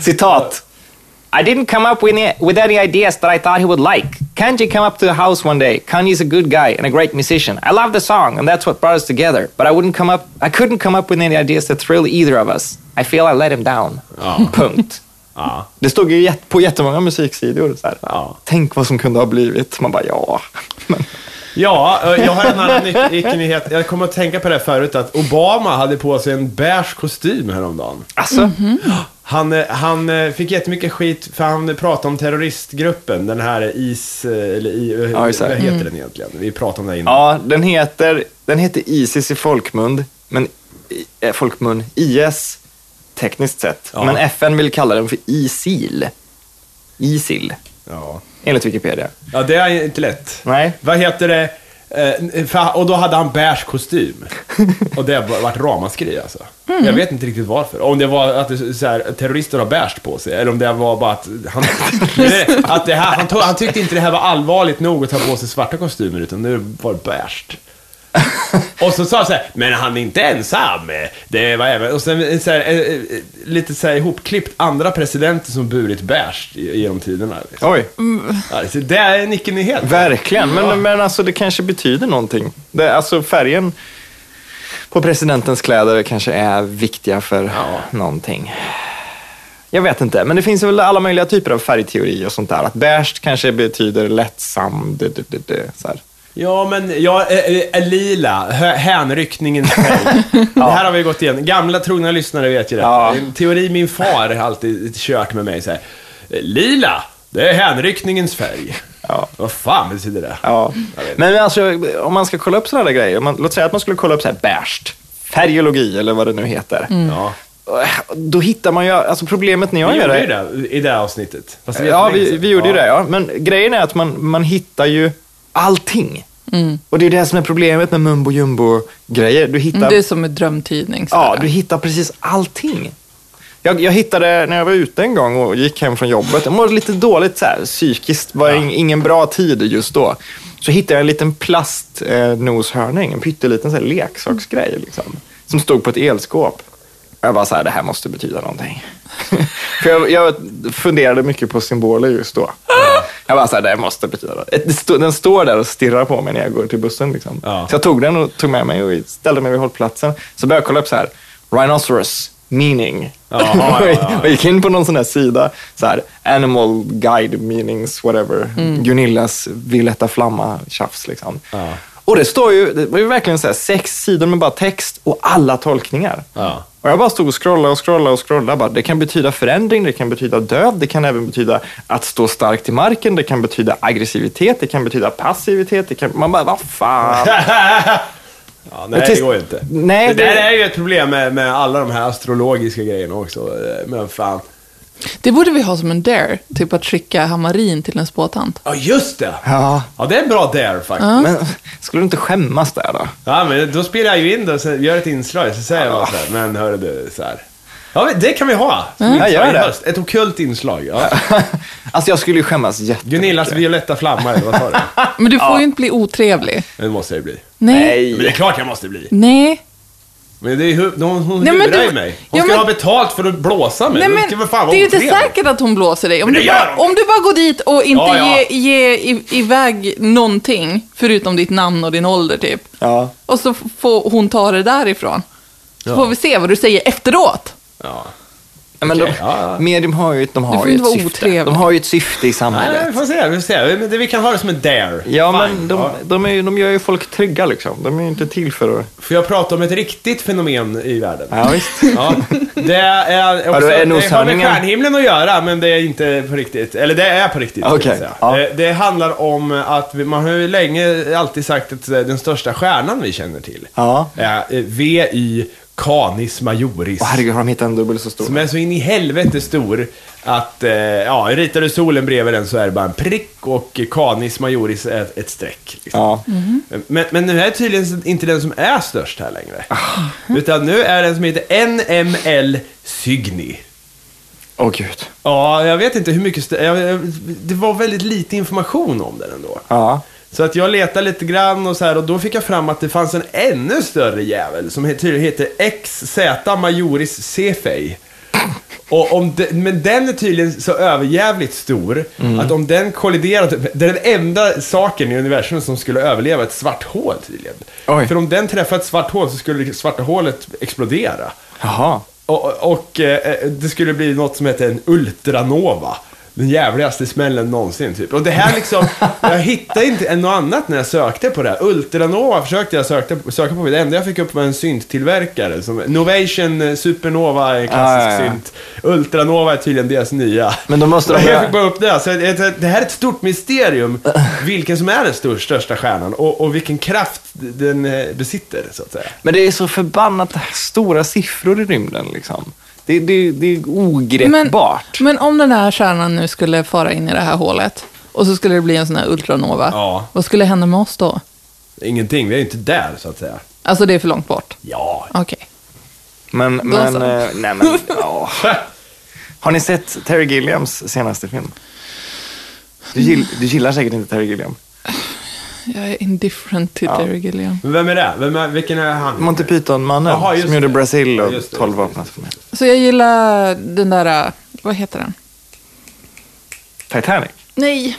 [SPEAKER 1] Citat. I didn't come up with any, with any ideas that I thought he would like. Kanji came up to the house one day. Kanye's a good guy and a great musician. I love the song, and that's what brought us together. But I wouldn't come up. I couldn't come up with any ideas that thrill either of us. I feel I let him down.
[SPEAKER 2] Ja.
[SPEAKER 1] Punkt.
[SPEAKER 2] Ja.
[SPEAKER 1] Det stod ju jätte- på jättemånga musiksidor. Så här.
[SPEAKER 2] Ja.
[SPEAKER 1] Tänk vad som kunde ha blivit. Man bara, ja.
[SPEAKER 2] ja, eh, jag har en annan ic- icke-nyhet. Jag kommer att tänka på det här förut, att Obama hade på sig en beige kostym häromdagen.
[SPEAKER 1] Alltså,
[SPEAKER 2] Han, eh, han eh, fick jättemycket skit för han pratade om terroristgruppen, den här IS, eh, eller I,
[SPEAKER 1] Ja, just det.
[SPEAKER 2] vad heter den egentligen? Vi pratade om det här innan.
[SPEAKER 1] ja, den heter, den heter Isis i folkmund, men i- eh, folkmun, IS tekniskt sett.
[SPEAKER 2] Ja.
[SPEAKER 1] Men FN vill kalla den för ISIL. ISIL,
[SPEAKER 2] Ja.
[SPEAKER 1] enligt Wikipedia.
[SPEAKER 2] Ja, det är inte lätt.
[SPEAKER 1] Nej.
[SPEAKER 2] Vad heter det? Eh, för, och då hade han beige kostym. Och det var- vart ramaskri alltså. Jag vet inte riktigt varför. Om det var att det, så här, terrorister har beige på sig, eller om det var bara att han... Nej, att det här, han, tog, han tyckte inte det här var allvarligt nog att ta på sig svarta kostymer, utan nu var det beige. Och så sa han såhär, men han är inte ensam. eh, Det var även... Och sen så här, eh, eh, lite så här ihopklippt andra presidenter som burit beige i- genom tiderna. Liksom.
[SPEAKER 1] Oj,
[SPEAKER 2] Ja, så det är en icke-nyhet.
[SPEAKER 1] verkligen. Men,
[SPEAKER 2] Ja.
[SPEAKER 1] men alltså det kanske betyder någonting. Det, alltså färgen på presidentens kläder kanske är viktiga för någonting. Jag vet inte, men det finns väl alla möjliga typer av färgteori och sånt där. Att beige kanske betyder lättsam, d- d- d- d- så här.
[SPEAKER 2] Ja, men ja, eh, eh, lila, hö- hänryckningens färg. Det här har vi gått igenom. Gamla trogna lyssnare vet ju det.
[SPEAKER 1] Ja.
[SPEAKER 2] En teori min far har alltid kört med mig så här. Eh, Lila, det är hänryckningens färg.
[SPEAKER 1] Ja.
[SPEAKER 2] Vad fan betyder det?
[SPEAKER 1] Ja. Men alltså, om man ska kolla upp sådana där grejer, om man, låt säga att man skulle kolla upp så här beige, färgeologi eller vad det nu heter.
[SPEAKER 2] Ja.
[SPEAKER 1] Då hittar man ju, alltså problemet när jag
[SPEAKER 2] Vi
[SPEAKER 1] Mm. gör
[SPEAKER 2] gjorde
[SPEAKER 1] det.
[SPEAKER 2] ju det i det här avsnittet. Fast det är
[SPEAKER 1] Ja,
[SPEAKER 2] jättelänge
[SPEAKER 1] vi,
[SPEAKER 2] sedan.
[SPEAKER 1] vi gjorde ju
[SPEAKER 2] Ja.
[SPEAKER 1] det. Ja. Men grejen är att man, man hittar ju allting. Och det är det som är problemet med mumbo jumbo-grejer. Du hittar,
[SPEAKER 3] Mm, Det är som en drömtidning. så
[SPEAKER 1] ja,
[SPEAKER 3] här.
[SPEAKER 1] du hittar precis allting. Jag, jag hittade, när jag var ute en gång och gick hem från jobbet, jag mådde lite dåligt så här, psykiskt, var in, ingen bra tid just då. Så hittade jag en liten plastnoshörning, en pytteliten så här, leksaksgrej, liksom, som stod på ett elskåp. Jag bara så här, det här måste betyda någonting. För jag, jag funderade mycket på symboler just då. Jag bara så här, det här måste betyda något. Det stå- Den står där och stirrar på mig när jag går till bussen. Liksom.
[SPEAKER 2] Ja.
[SPEAKER 1] Så jag tog den och tog med mig och ställde mig vid hållplatsen. Så började jag kolla upp så här, rhinoceros meaning.
[SPEAKER 2] ja, ja, ja.
[SPEAKER 1] och gick in på någon sån här sida, så här, animal guide meanings whatever. Gunillas Violetta Flamma-tjafs liksom.
[SPEAKER 2] Mm. Ja.
[SPEAKER 1] Och det står ju, det var ju verkligen så här, sex sidor med bara text och alla tolkningar.
[SPEAKER 2] Ja.
[SPEAKER 1] Och jag bara stod och scrollade och scrollade och scrollade. Bara, det kan betyda förändring, det kan betyda död, det kan även betyda att stå starkt i marken, det kan betyda aggressivitet, det kan betyda passivitet. Det kan, man bara, vad fan.
[SPEAKER 2] Ja,
[SPEAKER 1] Och
[SPEAKER 2] nej, det
[SPEAKER 1] tills-
[SPEAKER 2] går ju inte.
[SPEAKER 1] Nej,
[SPEAKER 2] det där
[SPEAKER 1] det-
[SPEAKER 2] är ju ett problem med, med alla de här astrologiska grejerna också. eh, Men fan.
[SPEAKER 3] Det borde vi ha som en dare, typ att skicka Hamarin till en spåtant.
[SPEAKER 2] Ja, just det!
[SPEAKER 1] Ja,
[SPEAKER 2] Ja, det är en bra där faktiskt.
[SPEAKER 1] men skulle du inte skämmas där då?
[SPEAKER 2] Ja, men då spelar jag ju in det och sen gör ett inslag, så säger jag bara så här, men hörru du, så här. Ja, men det kan vi ha! Som
[SPEAKER 3] Mm.
[SPEAKER 2] inslag
[SPEAKER 1] Jag gör
[SPEAKER 2] i
[SPEAKER 1] det.
[SPEAKER 2] höst. Ett ockult inslag. Ja.
[SPEAKER 1] Alltså jag skulle ju skämmas jättemycket.
[SPEAKER 2] Gunillas violetta flamma, eller vad sa du?
[SPEAKER 3] Men du får ju inte bli otrevlig.
[SPEAKER 2] Det måste jag ju bli.
[SPEAKER 3] Nej.
[SPEAKER 2] Men det är
[SPEAKER 1] Nej.
[SPEAKER 2] klart jag måste bli.
[SPEAKER 3] Nej.
[SPEAKER 2] Men det är, hu- hon hon
[SPEAKER 3] Nej, men
[SPEAKER 2] lurar
[SPEAKER 3] du-
[SPEAKER 2] ju mig. Hon
[SPEAKER 3] Ja,
[SPEAKER 2] ska
[SPEAKER 3] men-
[SPEAKER 2] ha betalt för att blåsa mig.
[SPEAKER 3] Nej,
[SPEAKER 2] Hon
[SPEAKER 3] men,
[SPEAKER 2] ska väl fan vara
[SPEAKER 3] det är ju inte
[SPEAKER 2] otrevlig.
[SPEAKER 3] säkert att hon blåser dig. Om,
[SPEAKER 2] Men
[SPEAKER 3] du
[SPEAKER 2] det gör
[SPEAKER 3] bara,
[SPEAKER 2] hon.
[SPEAKER 3] om du bara går dit och inte
[SPEAKER 2] Ja, ja.
[SPEAKER 3] ger ge i- iväg någonting, förutom ditt namn och din ålder typ.
[SPEAKER 1] Ja.
[SPEAKER 3] Och så f- får hon ta det därifrån. Så får vi se vad du säger efteråt.
[SPEAKER 2] Ja.
[SPEAKER 1] Ja, Men
[SPEAKER 2] Okej,
[SPEAKER 1] de,
[SPEAKER 2] ja, ja.
[SPEAKER 1] medium har ju, ett- de
[SPEAKER 3] Du
[SPEAKER 1] har
[SPEAKER 3] får
[SPEAKER 1] ju
[SPEAKER 3] inte
[SPEAKER 1] ett
[SPEAKER 3] vara
[SPEAKER 1] syfte.
[SPEAKER 3] otrevlig.
[SPEAKER 1] De har ju ett syfte i
[SPEAKER 2] Nej,
[SPEAKER 1] samhället.
[SPEAKER 2] nej, vi får se. Vi, får se. Men det, vi kan ha det som en dare.
[SPEAKER 1] Ja,
[SPEAKER 2] Fine.
[SPEAKER 1] men de,
[SPEAKER 2] Ja.
[SPEAKER 1] de, är, ju- de gör ju folk trygga liksom. De är ju inte till för att...
[SPEAKER 2] Får jag prata om ett riktigt fenomen i världen?
[SPEAKER 1] Ja, visst.
[SPEAKER 2] Ja, det är också,
[SPEAKER 1] Vadå, är
[SPEAKER 2] det har med
[SPEAKER 1] noshörningen-
[SPEAKER 2] stjärnhimlen att göra, men det är inte på riktigt. Eller det är på riktigt, ska
[SPEAKER 1] Okej,
[SPEAKER 2] jag säga.
[SPEAKER 1] ja.
[SPEAKER 2] Eh, Det handlar om att vi, man har ju länge alltid sagt att eh, den största stjärnan vi känner till
[SPEAKER 1] Ja.
[SPEAKER 2] är eh, VI Canis Majoris.
[SPEAKER 1] Åh herregud, har de hittat en dubbel så stor?
[SPEAKER 2] Som är så in i helvete stor att, eh, ja, ritar du solen bredvid den så är det bara en prick och Canis Majoris är ett streck. Liksom.
[SPEAKER 1] Ja.
[SPEAKER 2] Men, men nu är tydligen inte den som är störst här längre. Utan nu är den som heter NML Cygni.
[SPEAKER 1] Åh gud.
[SPEAKER 2] Ja, jag vet inte hur mycket... st- jag- jag- Det var väldigt lite information om den ändå.
[SPEAKER 1] Ja.
[SPEAKER 2] Så att jag letade lite grann och så här och då fick jag fram att det fanns en ännu större jävel som he- tydligen heter XZ Majoris Cefei. Och om de, men den är tydligen så överjävligt stor
[SPEAKER 1] Mm.
[SPEAKER 2] att om den kolliderar, det är den enda saken i universum som skulle överleva ett svart hål tydligen.
[SPEAKER 1] Oj.
[SPEAKER 2] För om den träffar ett svart hål så skulle det svarta hålet explodera.
[SPEAKER 1] Jaha.
[SPEAKER 2] Och, och, och eh, det skulle bli något som heter en ultranova. Den jävligaste smällen någonsin typ. Och det här liksom, jag hittade inte något annat när jag sökte på det här. Ultranova försökte jag söka, söka på, det enda jag fick upp var en synttillverkare. Som, Novation eh, Supernova är en klassisk
[SPEAKER 1] Ah, ja, ja.
[SPEAKER 2] synt. Ultranova är tydligen deras nya.
[SPEAKER 1] Men då måste de
[SPEAKER 2] Jag
[SPEAKER 1] göra-
[SPEAKER 2] fick bara upp det. här. Så det det- det här är ett stort mysterium. Vilken som är den stor, största stjärnan och, och vilken kraft den eh, besitter så att säga.
[SPEAKER 1] Men det är så förbannat stora siffror i rymden. Liksom. Det, det, det är
[SPEAKER 3] Men,
[SPEAKER 1] ogreppbart.
[SPEAKER 3] men om den här stjärnan nu skulle fara in i det här hålet och så skulle det bli en sån här ultranova,
[SPEAKER 2] Ja.
[SPEAKER 3] vad skulle hända med oss då?
[SPEAKER 2] Ingenting, vi är ju inte där så att säga.
[SPEAKER 3] Alltså det är för långt bort.
[SPEAKER 2] Ja.
[SPEAKER 3] Okej.
[SPEAKER 1] Men, men,
[SPEAKER 3] så.
[SPEAKER 1] eh, nej men, ja. Har ni sett Terry Gilliams senaste film? Du, gill, du gillar säkert inte Terry Gilliam.
[SPEAKER 3] Jag är indifferent till Terry Gilliam.
[SPEAKER 2] Men vem är det? Vem är, vilken är han?
[SPEAKER 1] Monty
[SPEAKER 2] Jaha,
[SPEAKER 1] Python-mannen
[SPEAKER 2] just
[SPEAKER 1] som gjorde
[SPEAKER 2] det.
[SPEAKER 1] Brazil
[SPEAKER 2] Ja,
[SPEAKER 1] och
[SPEAKER 2] just det,
[SPEAKER 1] 12
[SPEAKER 2] just det,
[SPEAKER 1] vapnas för mig.
[SPEAKER 3] Så jag gillar den där, äh, vad heter den?
[SPEAKER 1] Titanic.
[SPEAKER 3] Nej.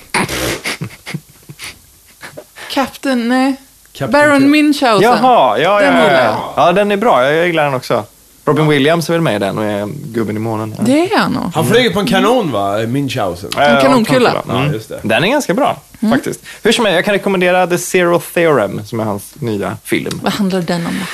[SPEAKER 3] Captain, nej.
[SPEAKER 2] Captain
[SPEAKER 3] Baron
[SPEAKER 2] Kirk.
[SPEAKER 3] Munchausen.
[SPEAKER 1] Jaha, ja,
[SPEAKER 3] Den
[SPEAKER 1] ja, ja,
[SPEAKER 3] gillar
[SPEAKER 1] ja. ja. den är bra. Jag gillar den också. Robin Williams är väl med i den och är gubben i månen. Ja.
[SPEAKER 3] Det är han nog.
[SPEAKER 2] Han flyger på en kanon va? Münchhausen.
[SPEAKER 1] Eh,
[SPEAKER 3] En kanonkula. Mm.
[SPEAKER 1] kanonkula.
[SPEAKER 2] Ja, just det.
[SPEAKER 1] Den är ganska bra, faktiskt. Hur som helst, jag kan rekommendera The Zero Theorem, som är hans nya film.
[SPEAKER 3] Vad handlar den om då?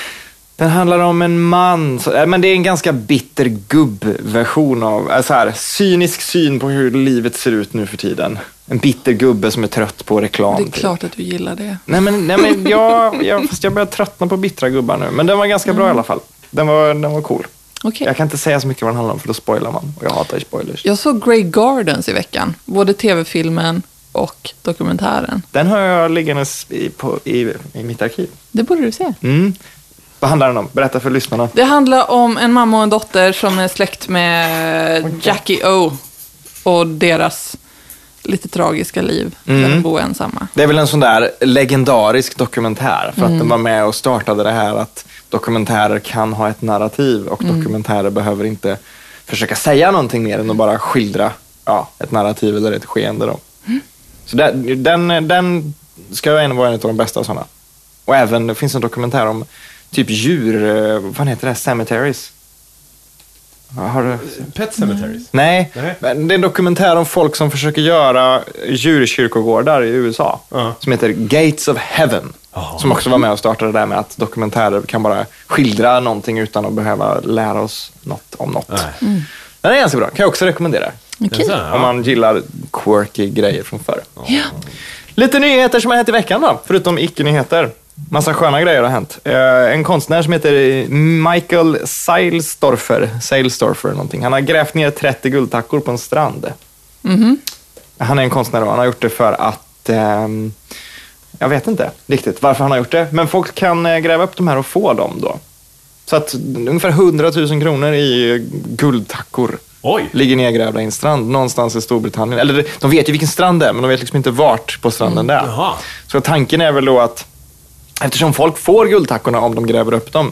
[SPEAKER 1] Den handlar om en man, så, äh, men det är en ganska bitter gubb-version av, äh, så här, cynisk syn på hur livet ser ut nu för tiden. En bitter gubbe som är trött på reklam.
[SPEAKER 3] Det är
[SPEAKER 1] typ.
[SPEAKER 3] klart att du gillar det.
[SPEAKER 1] Nej men, nej, men jag, jag, fast jag börjar tröttna på bittra gubbar nu. Men den var ganska bra i alla fall. Den var, den var cool.
[SPEAKER 3] Okej.
[SPEAKER 1] Jag kan inte säga så mycket vad den handlar om, för då spoilar man. Och jag hatar spoilers.
[SPEAKER 3] Jag såg Grey Gardens i veckan. Både tv-filmen och dokumentären.
[SPEAKER 1] Den har jag liggandes i, på, i, i mitt arkiv.
[SPEAKER 3] Det borde du se.
[SPEAKER 1] Mm. Vad handlar den om? Berätta för lyssnarna.
[SPEAKER 3] Det handlar om en mamma och en dotter som är släkt med Jackie O. Och deras lite tragiska liv när
[SPEAKER 1] Mm.
[SPEAKER 3] de bor ensamma.
[SPEAKER 1] Det är väl en sån där legendarisk dokumentär, för att den var med och startade det här att dokumentärer kan ha ett narrativ och dokumentärer behöver inte försöka säga någonting mer än att bara skildra ja, ett narrativ eller ett skeende. Då. Så den, den, den ska vara en vara en av de bästa sådana. Och även, det finns en dokumentär om typ djur, eh, vad fan heter det, cemeteries? Ja, Har du...
[SPEAKER 2] Pet Cemeteries.
[SPEAKER 1] Nej,
[SPEAKER 2] Nej.
[SPEAKER 1] men det är en dokumentär om folk som försöker göra djurkyrkogårdar i USA.
[SPEAKER 2] Ja.
[SPEAKER 1] Som heter Gates of Heaven.
[SPEAKER 2] Ja.
[SPEAKER 1] Som också var med och startade det där med att dokumentärer kan bara skildra någonting utan att behöva lära oss något om något.
[SPEAKER 2] Nej.
[SPEAKER 1] Den är ganska bra, kan jag också rekommendera.
[SPEAKER 3] Okej.
[SPEAKER 2] Så, ja.
[SPEAKER 1] Om man gillar quirky grejer från förr.
[SPEAKER 3] Ja.
[SPEAKER 1] Lite nyheter som har hänt i veckan då, förutom icke-nyheter. Massa sköna grejer har hänt. Eh, en konstnär som heter Michael Seilstorfer, Seilstorfer någonting. han har grävt ner 30 guldtackor på en strand. Han är en konstnär och han har gjort det för att, ehm, jag vet inte riktigt varför han har gjort det, men folk kan eh, gräva upp de här och få dem då. Så att ungefär 100 000 kronor i guldtackor
[SPEAKER 2] Oj.
[SPEAKER 1] ligger nedgrävda i en strand någonstans i Storbritannien. Eller de vet ju vilken strand det är, men de vet liksom inte vart på stranden det är.
[SPEAKER 2] Jaha.
[SPEAKER 1] Så tanken är väl då att eftersom folk får guldtackorna om de gräver upp dem,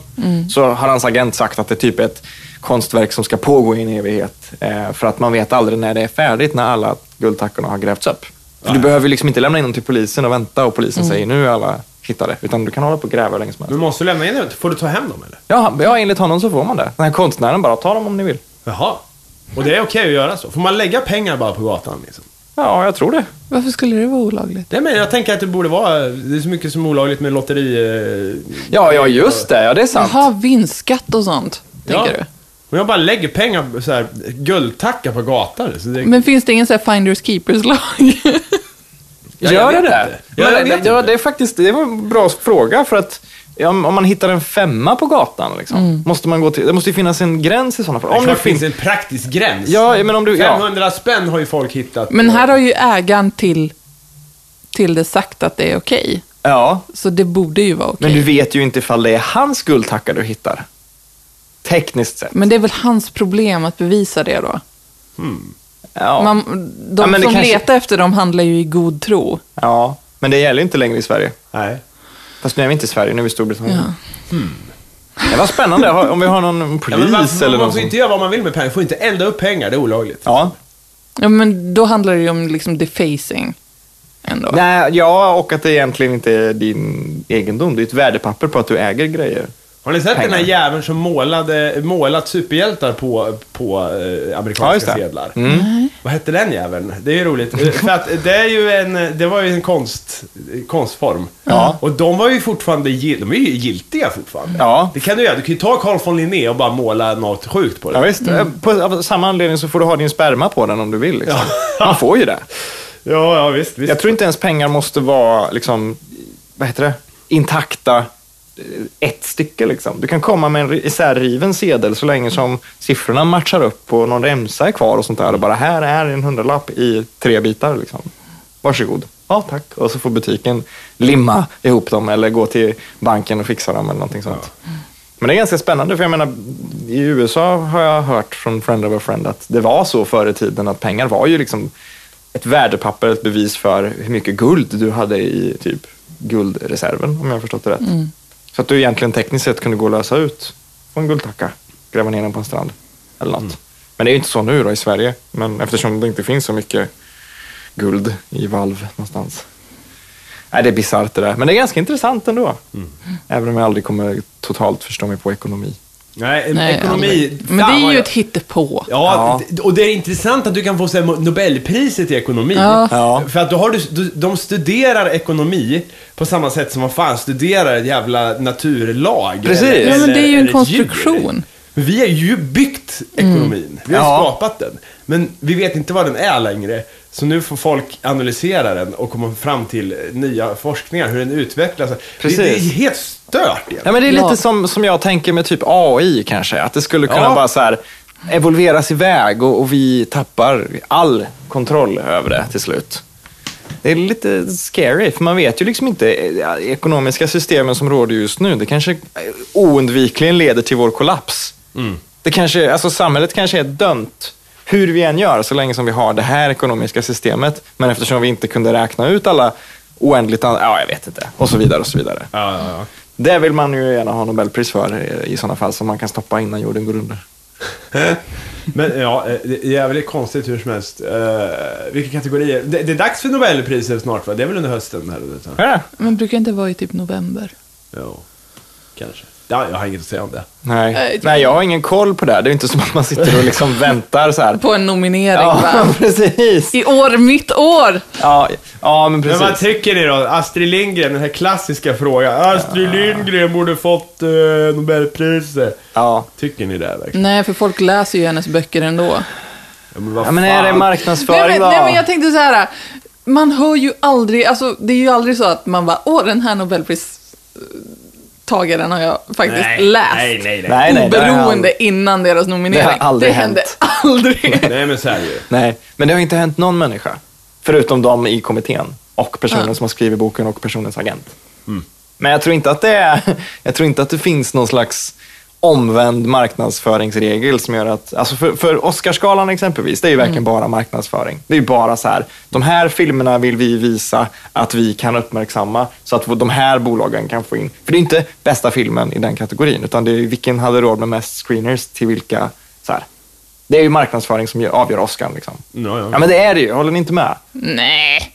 [SPEAKER 1] så har hans agent sagt att det är typ ett konstverk som ska pågå i en evighet. Eh, för att man vet aldrig när det är färdigt, när alla guldtackorna har grävts upp. För du behöver ju liksom inte lämna in dem till polisen och vänta och polisen säger nu är alla hittade, utan du kan hålla på och gräva hur länge som helst.
[SPEAKER 2] Men måste du lämna in dem? Får du ta hem dem eller?
[SPEAKER 1] Ja, ja, enligt honom så får man det. Den här konstnären bara, ta dem om ni vill.
[SPEAKER 2] Jaha. Och det är okej att göra så? Får man lägga pengar bara på gatan liksom?
[SPEAKER 1] Ja, jag tror det.
[SPEAKER 3] Varför skulle det vara olagligt?
[SPEAKER 2] Det men jag tänker att det borde vara... Det är så mycket som är olagligt med lotteri... eh,
[SPEAKER 1] Ja, ja just det. Ja, det är sant.
[SPEAKER 3] Jaha, vinstskatt och sånt, tänker du?
[SPEAKER 2] Om jag bara lägger pengar, så här, guldtackar på gatan. Så det,
[SPEAKER 3] Men finns det ingen så här finders keepers-lag?
[SPEAKER 2] Ja, jag
[SPEAKER 1] Gör det
[SPEAKER 2] vet
[SPEAKER 1] det?
[SPEAKER 2] inte. Ja, jag
[SPEAKER 1] Men
[SPEAKER 2] vet
[SPEAKER 1] det, ja,
[SPEAKER 2] inte.
[SPEAKER 1] det är faktiskt det var en bra fråga. för att ja, om om man hittar en femma på gatan, liksom,
[SPEAKER 2] Mm.
[SPEAKER 1] måste man gå till, det måste ju finnas en gräns i sådana fall.
[SPEAKER 2] om
[SPEAKER 1] Om
[SPEAKER 2] det finns en praktisk gräns.
[SPEAKER 1] Ja, men om du... Ja.
[SPEAKER 2] 500 spänn har ju folk hittat.
[SPEAKER 3] Men här har ju ägaren till, till det sagt att det är okej.
[SPEAKER 1] ja,
[SPEAKER 3] Så det borde ju vara okej.
[SPEAKER 1] men du vet ju inte ifall det är hans guldtackar du hittar. Tekniskt sett.
[SPEAKER 3] Men det är väl hans problem att bevisa det då?
[SPEAKER 1] Ja.
[SPEAKER 3] Man, de
[SPEAKER 1] Ja, men det
[SPEAKER 3] som
[SPEAKER 1] kanske-
[SPEAKER 3] letar efter dem handlar ju i god tro.
[SPEAKER 1] ja, men det gäller ju inte längre i Sverige.
[SPEAKER 2] Nej.
[SPEAKER 1] Fast nu är vi inte i Sverige, nu är vi i Storbritannien.
[SPEAKER 3] Ja.
[SPEAKER 1] Det var spännande Har- om vi har någon
[SPEAKER 2] Hmm. Ja,
[SPEAKER 1] polis
[SPEAKER 2] men varför,
[SPEAKER 1] eller
[SPEAKER 2] man
[SPEAKER 1] någon
[SPEAKER 2] får
[SPEAKER 1] som-
[SPEAKER 2] inte göra vad man vill med pengar. får inte elda upp pengar, det är olagligt.
[SPEAKER 1] Ja.
[SPEAKER 3] Ja, men då handlar det ju om liksom defacing. Ändå.
[SPEAKER 1] Nej, ja, och att det egentligen inte är din egendom. Det är ett värdepapper på att du äger grejer.
[SPEAKER 2] Har ni sett
[SPEAKER 1] Pengar.
[SPEAKER 2] den här jäveln som målade, målat superhjältar på, på eh,
[SPEAKER 1] Ja, just
[SPEAKER 2] amerikanska
[SPEAKER 1] det. Mm.
[SPEAKER 2] sedlar? Vad hette den jäveln? Det är ju roligt. Eh, För att det, är ju en, det var ju en konst, konstform.
[SPEAKER 1] Ja.
[SPEAKER 2] Och de var ju fortfarande gill, de är ju giltiga fortfarande.
[SPEAKER 1] Ja.
[SPEAKER 2] Det kan du göra. Du kan ju ta Carl von Linné och bara måla något sjukt på det.
[SPEAKER 1] Ja, visst. På, av samma anledning så får du ha din sperma på den om du vill. Liksom. Man får ju det.
[SPEAKER 2] Ja, ja visst. visst.
[SPEAKER 1] Jag tror inte ens pengar måste vara liksom, vad heter det? intakta eh, ett stycke. Liksom. Du kan komma med en ri- isärriven sedel så länge som siffrorna matchar upp och någon remsa är kvar och sånt där. Och bara här är en hundralapp i tre bitar. Liksom. Varsågod. ja tack. Och så får butiken limma ihop dem eller gå till banken och fixa dem eller någonting sånt. Men det är ganska spännande, för jag menar, i USA har jag hört från friend of a friend att det var så förr i tiden att pengar var ju liksom ett värdepapper, ett bevis för hur mycket guld du hade i typ guldreserven, om jag har förstått det rätt. Så att du egentligen tekniskt sett kunde gå och lösa ut på en guldtacka, gräva ner den på en strand eller något. Men det är ju inte så nu då i Sverige, men eftersom det inte finns så mycket guld i valv någonstans. Nej, det är bisarrt det där, men det är ganska intressant ändå. Även om jag aldrig kommer totalt förstå mig på ekonomi.
[SPEAKER 2] Nej,
[SPEAKER 3] Nej,
[SPEAKER 2] ekonomi.
[SPEAKER 3] aldrig. Men det
[SPEAKER 2] fan
[SPEAKER 3] är
[SPEAKER 2] vad
[SPEAKER 3] ju
[SPEAKER 2] jag-
[SPEAKER 3] ett hittepå.
[SPEAKER 1] Ja.
[SPEAKER 2] Ja, d- och det är intressant att du kan få så här, Mo- Nobelpriset i ekonomi.
[SPEAKER 3] Ja.
[SPEAKER 1] Ja.
[SPEAKER 2] För att då har du, du, de studerar ekonomi på samma sätt som vad fan studerar ett jävla naturlag.
[SPEAKER 1] Precis.
[SPEAKER 3] Ja, men det är ju en
[SPEAKER 2] eller ett djur.
[SPEAKER 3] konstruktion. Mm.
[SPEAKER 2] Men Vi har ju byggt ekonomin. Vi har
[SPEAKER 1] Ja.
[SPEAKER 2] skapat den. Men vi vet inte vad den är längre. Så nu får folk analysera den och komma fram till nya forskningar, hur den utvecklas. Det,
[SPEAKER 1] Precis.
[SPEAKER 2] det är helt stört egentligen.
[SPEAKER 1] Ja, men det är lite
[SPEAKER 3] Ja.
[SPEAKER 1] som, som jag tänker med typ AI kanske. Att det skulle kunna
[SPEAKER 2] Ja.
[SPEAKER 1] bara så här evolveras iväg och, och vi tappar all kontroll över det till slut. Det är lite scary, för man vet ju liksom inte eh, ekonomiska systemen som råder just nu. Det kanske eh, oundvikligen leder till vår kollaps. Det kanske, alltså samhället kanske är dömt, hur vi än gör, så länge som vi har det här ekonomiska systemet. Men eftersom vi inte kunde räkna ut alla oändligt, an- ja jag vet inte, och så vidare och så vidare.
[SPEAKER 2] Ja, ja, ja.
[SPEAKER 1] Det vill man ju gärna ha Nobelpris för eh, i sådana fall, som man kan stoppa innan jorden går under.
[SPEAKER 2] Men ja, eh, det är jävligt konstigt hur som helst. Eh, vilka kategorier? Det, det är dags för Nobelpriset snart va? Det är väl under hösten? Här, vet jag.
[SPEAKER 1] Ja.
[SPEAKER 3] Men brukar inte vara i typ november?
[SPEAKER 2] Ja, kanske. Ja, jag har inget att säga om det.
[SPEAKER 3] Nej,
[SPEAKER 1] Nej.
[SPEAKER 3] det-
[SPEAKER 1] Nej, jag har ingen koll på det här. Det är inte som att man sitter och liksom väntar så här.
[SPEAKER 3] På en nominering
[SPEAKER 1] Ja,
[SPEAKER 3] va?
[SPEAKER 1] precis.
[SPEAKER 3] I år, mitt år!
[SPEAKER 1] Ja, ja men
[SPEAKER 2] Men vad
[SPEAKER 1] precis.
[SPEAKER 2] tycker ni då? Astrid Lindgren, den här klassiska frågan.
[SPEAKER 1] Ah.
[SPEAKER 2] Astrid Lindgren borde fått eh, Nobelpriset.
[SPEAKER 1] Ja.
[SPEAKER 2] Tycker ni det verkligen?
[SPEAKER 3] Nej, för folk läser ju hennes böcker ändå.
[SPEAKER 2] Ja, men vad
[SPEAKER 1] Mm. ja, men är det
[SPEAKER 2] fan?
[SPEAKER 1] marknadsföring
[SPEAKER 3] Nej men,
[SPEAKER 1] då?
[SPEAKER 3] nej, men jag tänkte så här. Man hör ju aldrig, alltså det är ju aldrig så att man bara, åh den här nobelpristagaren har jag faktiskt
[SPEAKER 2] Nej,
[SPEAKER 3] läst.
[SPEAKER 2] Nej, nej, nej.
[SPEAKER 1] nej, nej, det har jag
[SPEAKER 3] Oberoende
[SPEAKER 1] aldrig-
[SPEAKER 3] innan deras nominering.
[SPEAKER 1] Det har aldrig
[SPEAKER 3] hände
[SPEAKER 1] hänt.
[SPEAKER 3] aldrig.
[SPEAKER 2] Nej, men så är det ju.
[SPEAKER 1] Nej, men det har inte hänt någon människa. Förutom de i kommittén och personen som har skrivit boken och personens agent. Men jag tror, inte att det är, jag tror inte att det finns någon slags omvänd marknadsföringsregel som gör att... Alltså för, för Oscarsgalan exempelvis, det är ju verkligen bara marknadsföring. Det är ju bara så här, de här filmerna vill vi visa att vi kan uppmärksamma så att de här bolagen kan få in. För det är inte bästa filmen i den kategorin, utan det är ju vilken hade råd med mest screeners till vilka... Så här. Det är ju marknadsföring som gör- avgör Oscarn. Liksom.
[SPEAKER 2] Ja, ja.
[SPEAKER 1] Ja, men det är det ju. Håller ni inte med?
[SPEAKER 3] nej.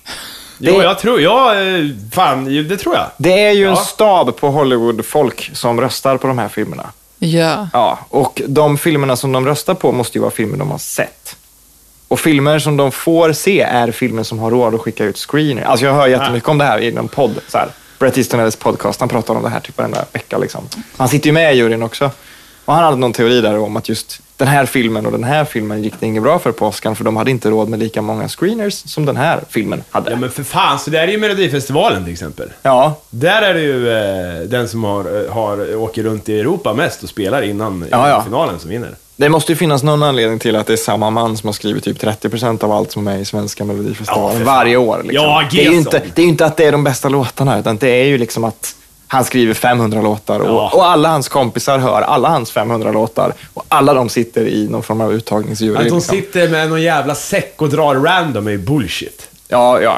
[SPEAKER 2] Jo, jag tror, jag, eh, fan, ju, det tror jag.
[SPEAKER 1] Det är ju en
[SPEAKER 2] Ja.
[SPEAKER 1] stab på Hollywood-folk som röstar på de här filmerna.
[SPEAKER 3] Ja.
[SPEAKER 1] Ja, och de filmerna som de röstar på måste ju vara filmer de har sett. Och filmer som de får se är filmer som har råd att skicka ut screener. Alltså jag hör jättemycket om det här i en podd. Så här. Bret Easton Ellis podcast, han pratar om det här typ varenda vecka. Liksom. Han sitter ju med i juryn också. Och han hade någon teori där om att just den här filmen och den här filmen gick det inget bra för på Oscar, för de hade inte råd med lika många screeners som den här filmen hade.
[SPEAKER 2] Ja, men för fan, så det är ju Melodifestivalen till exempel.
[SPEAKER 1] Ja,
[SPEAKER 2] Där är det ju eh, den som har, har, åker runt i Europa mest och spelar innan,
[SPEAKER 1] Ja,
[SPEAKER 2] innan
[SPEAKER 1] ja.
[SPEAKER 2] finalen som vinner.
[SPEAKER 1] Det måste ju finnas någon anledning till att det är samma man som har skrivit typ 30% av allt som är med i svenska
[SPEAKER 2] Ja, för
[SPEAKER 1] melodifestivalen
[SPEAKER 2] fan.
[SPEAKER 1] varje år. Liksom.
[SPEAKER 2] Ja,
[SPEAKER 1] det, är ju
[SPEAKER 2] Gesson.
[SPEAKER 1] inte, det är ju inte att det är de bästa låtarna, utan det är ju liksom att han skriver 500 låtar och,
[SPEAKER 2] Ja.
[SPEAKER 1] och alla hans kompisar hör alla hans 500 låtar och alla de sitter i någon form av uttagningsjury.
[SPEAKER 2] Att de
[SPEAKER 1] liksom.
[SPEAKER 2] sitter med någon jävla säck och drar random är ju bullshit.
[SPEAKER 1] Ja, ja.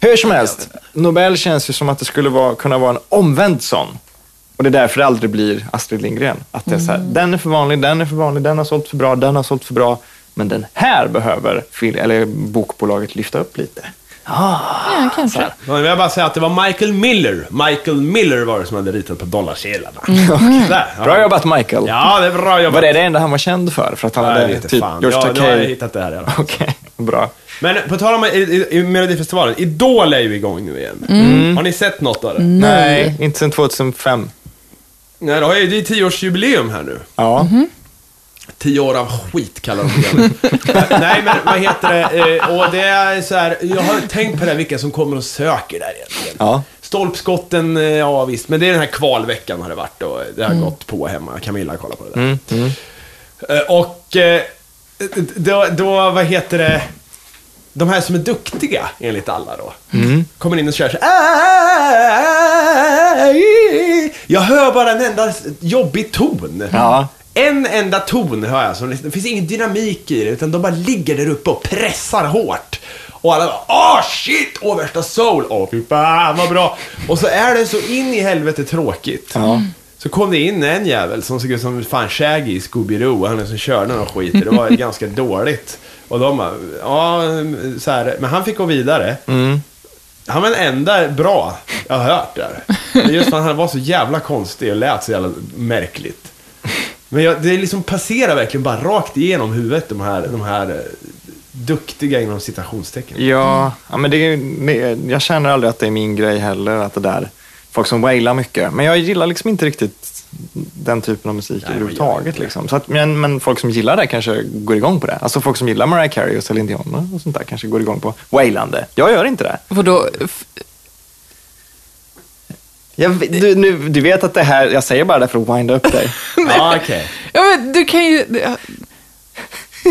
[SPEAKER 1] Hur som helst, Nobel känns ju som att det skulle vara, kunna vara en omvänd sån. Och det är därför det aldrig blir Astrid Lindgren. Att det är så här,
[SPEAKER 2] Mm.
[SPEAKER 1] den är för vanlig, den är för vanlig, den har sålt för bra, den har sålt för bra. Men den här behöver fil- eller bokbolaget lyfta upp lite.
[SPEAKER 2] Ah,
[SPEAKER 3] Ja, kanske.
[SPEAKER 2] Men jag vill bara säga att det var Michael Miller. Michael Miller var det som hade ritat på dollarsedlarna. Där, ja.
[SPEAKER 1] Mm. Bra jobbat Michael!
[SPEAKER 2] Ja, det är bra jobbat.
[SPEAKER 1] Var det det enda han var känd för? För att han
[SPEAKER 2] Ja, jag
[SPEAKER 1] hade
[SPEAKER 2] vet inte
[SPEAKER 1] typ
[SPEAKER 2] fan.
[SPEAKER 1] gjort
[SPEAKER 2] Ja, nu har jag
[SPEAKER 1] Takei?
[SPEAKER 2] hittat det här i alla fall.
[SPEAKER 1] Okej, bra.
[SPEAKER 2] Men på tal om i, i, i Melodifestivalen, Idol är ju igång nu igen.
[SPEAKER 1] Mm.
[SPEAKER 2] Har ni sett något av det?
[SPEAKER 1] Nej, inte sedan 2005.
[SPEAKER 2] Nej, det har ju- det är tioårsjubileum här nu.
[SPEAKER 1] Ja.
[SPEAKER 2] Tio år av skit kallar de programmet. Nej, men vad heter det? Eh, Och det är så här, jag har tänkt på det här, vilka som kommer och söker där egentligen.
[SPEAKER 1] Ja.
[SPEAKER 2] Stolpskotten, eh, ja visst, men det är den här kvalveckan har det varit och det har
[SPEAKER 1] Mm.
[SPEAKER 2] gått på hemma. Camilla kollar på det där. Eh, Och eh, då, då, vad heter det? de här som är duktiga, enligt alla då,
[SPEAKER 1] Mm.
[SPEAKER 2] kommer in och kör så här. Jag hör bara en enda jobbig ton.
[SPEAKER 1] Ja.
[SPEAKER 2] En enda ton hör jag. Som, liksom- det finns ingen dynamik i det, utan de bara ligger där uppe och pressar hårt. Och alla bara Åh shit! Åh värsta soul! Åh fy fan vad bra! Och så är det så in i helvete tråkigt.
[SPEAKER 1] Ja.
[SPEAKER 2] Så kom det in en jävel som såg ut som fan Shaggy i Scooby-Doo, han är som körde någon skit. Det var ganska dåligt. Och de bara, ja, så här. Men han fick gå vidare.
[SPEAKER 1] Mm.
[SPEAKER 2] Han var den enda bra jag har hört där. Men just för att han var så jävla konstig och lät så jävla märkligt. Men jag, det liksom passerar verkligen bara rakt igenom huvudet, de här, de här eh, duktiga inom citationstecken.
[SPEAKER 1] Ja, ja men det, är ju- det- jag känner aldrig att det är min grej heller, att det där, folk som wailar mycket. Men jag gillar liksom inte riktigt den typen av musik
[SPEAKER 2] men jag
[SPEAKER 1] överhuvudtaget. Liksom. Så att, men, men folk som gillar det kanske går igång på det. Alltså folk som gillar Mariah Carey och Celine Dion och sånt där kanske går igång på wailande. Jag gör inte det.
[SPEAKER 3] Vadå? F-
[SPEAKER 1] Jag, du, nu, du vet att det här, jag säger bara det för att winda upp dig.
[SPEAKER 2] Ja, okej.
[SPEAKER 3] Ja, men du kan ju...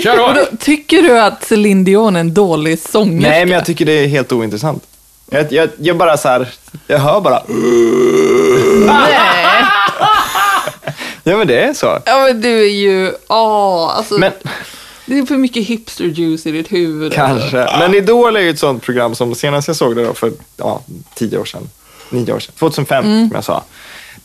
[SPEAKER 2] Kör då!
[SPEAKER 3] Vadå, tycker du att Celine Dion är en dålig sångerska?
[SPEAKER 1] Nej, men jag tycker det är helt ointressant. Jag, jag, jag bara så här, jag hör bara...
[SPEAKER 3] Nej.
[SPEAKER 1] Ja, men det är så.
[SPEAKER 3] Ja, men du är ju... Åh, alltså...
[SPEAKER 1] Men-
[SPEAKER 3] Det är för mycket hipster juice i ditt huvud.
[SPEAKER 1] Kanske. Men Idol är ju ett sånt program som senast jag såg det då för ja, tio år sedan, nio år sedan, 2005 som jag sa.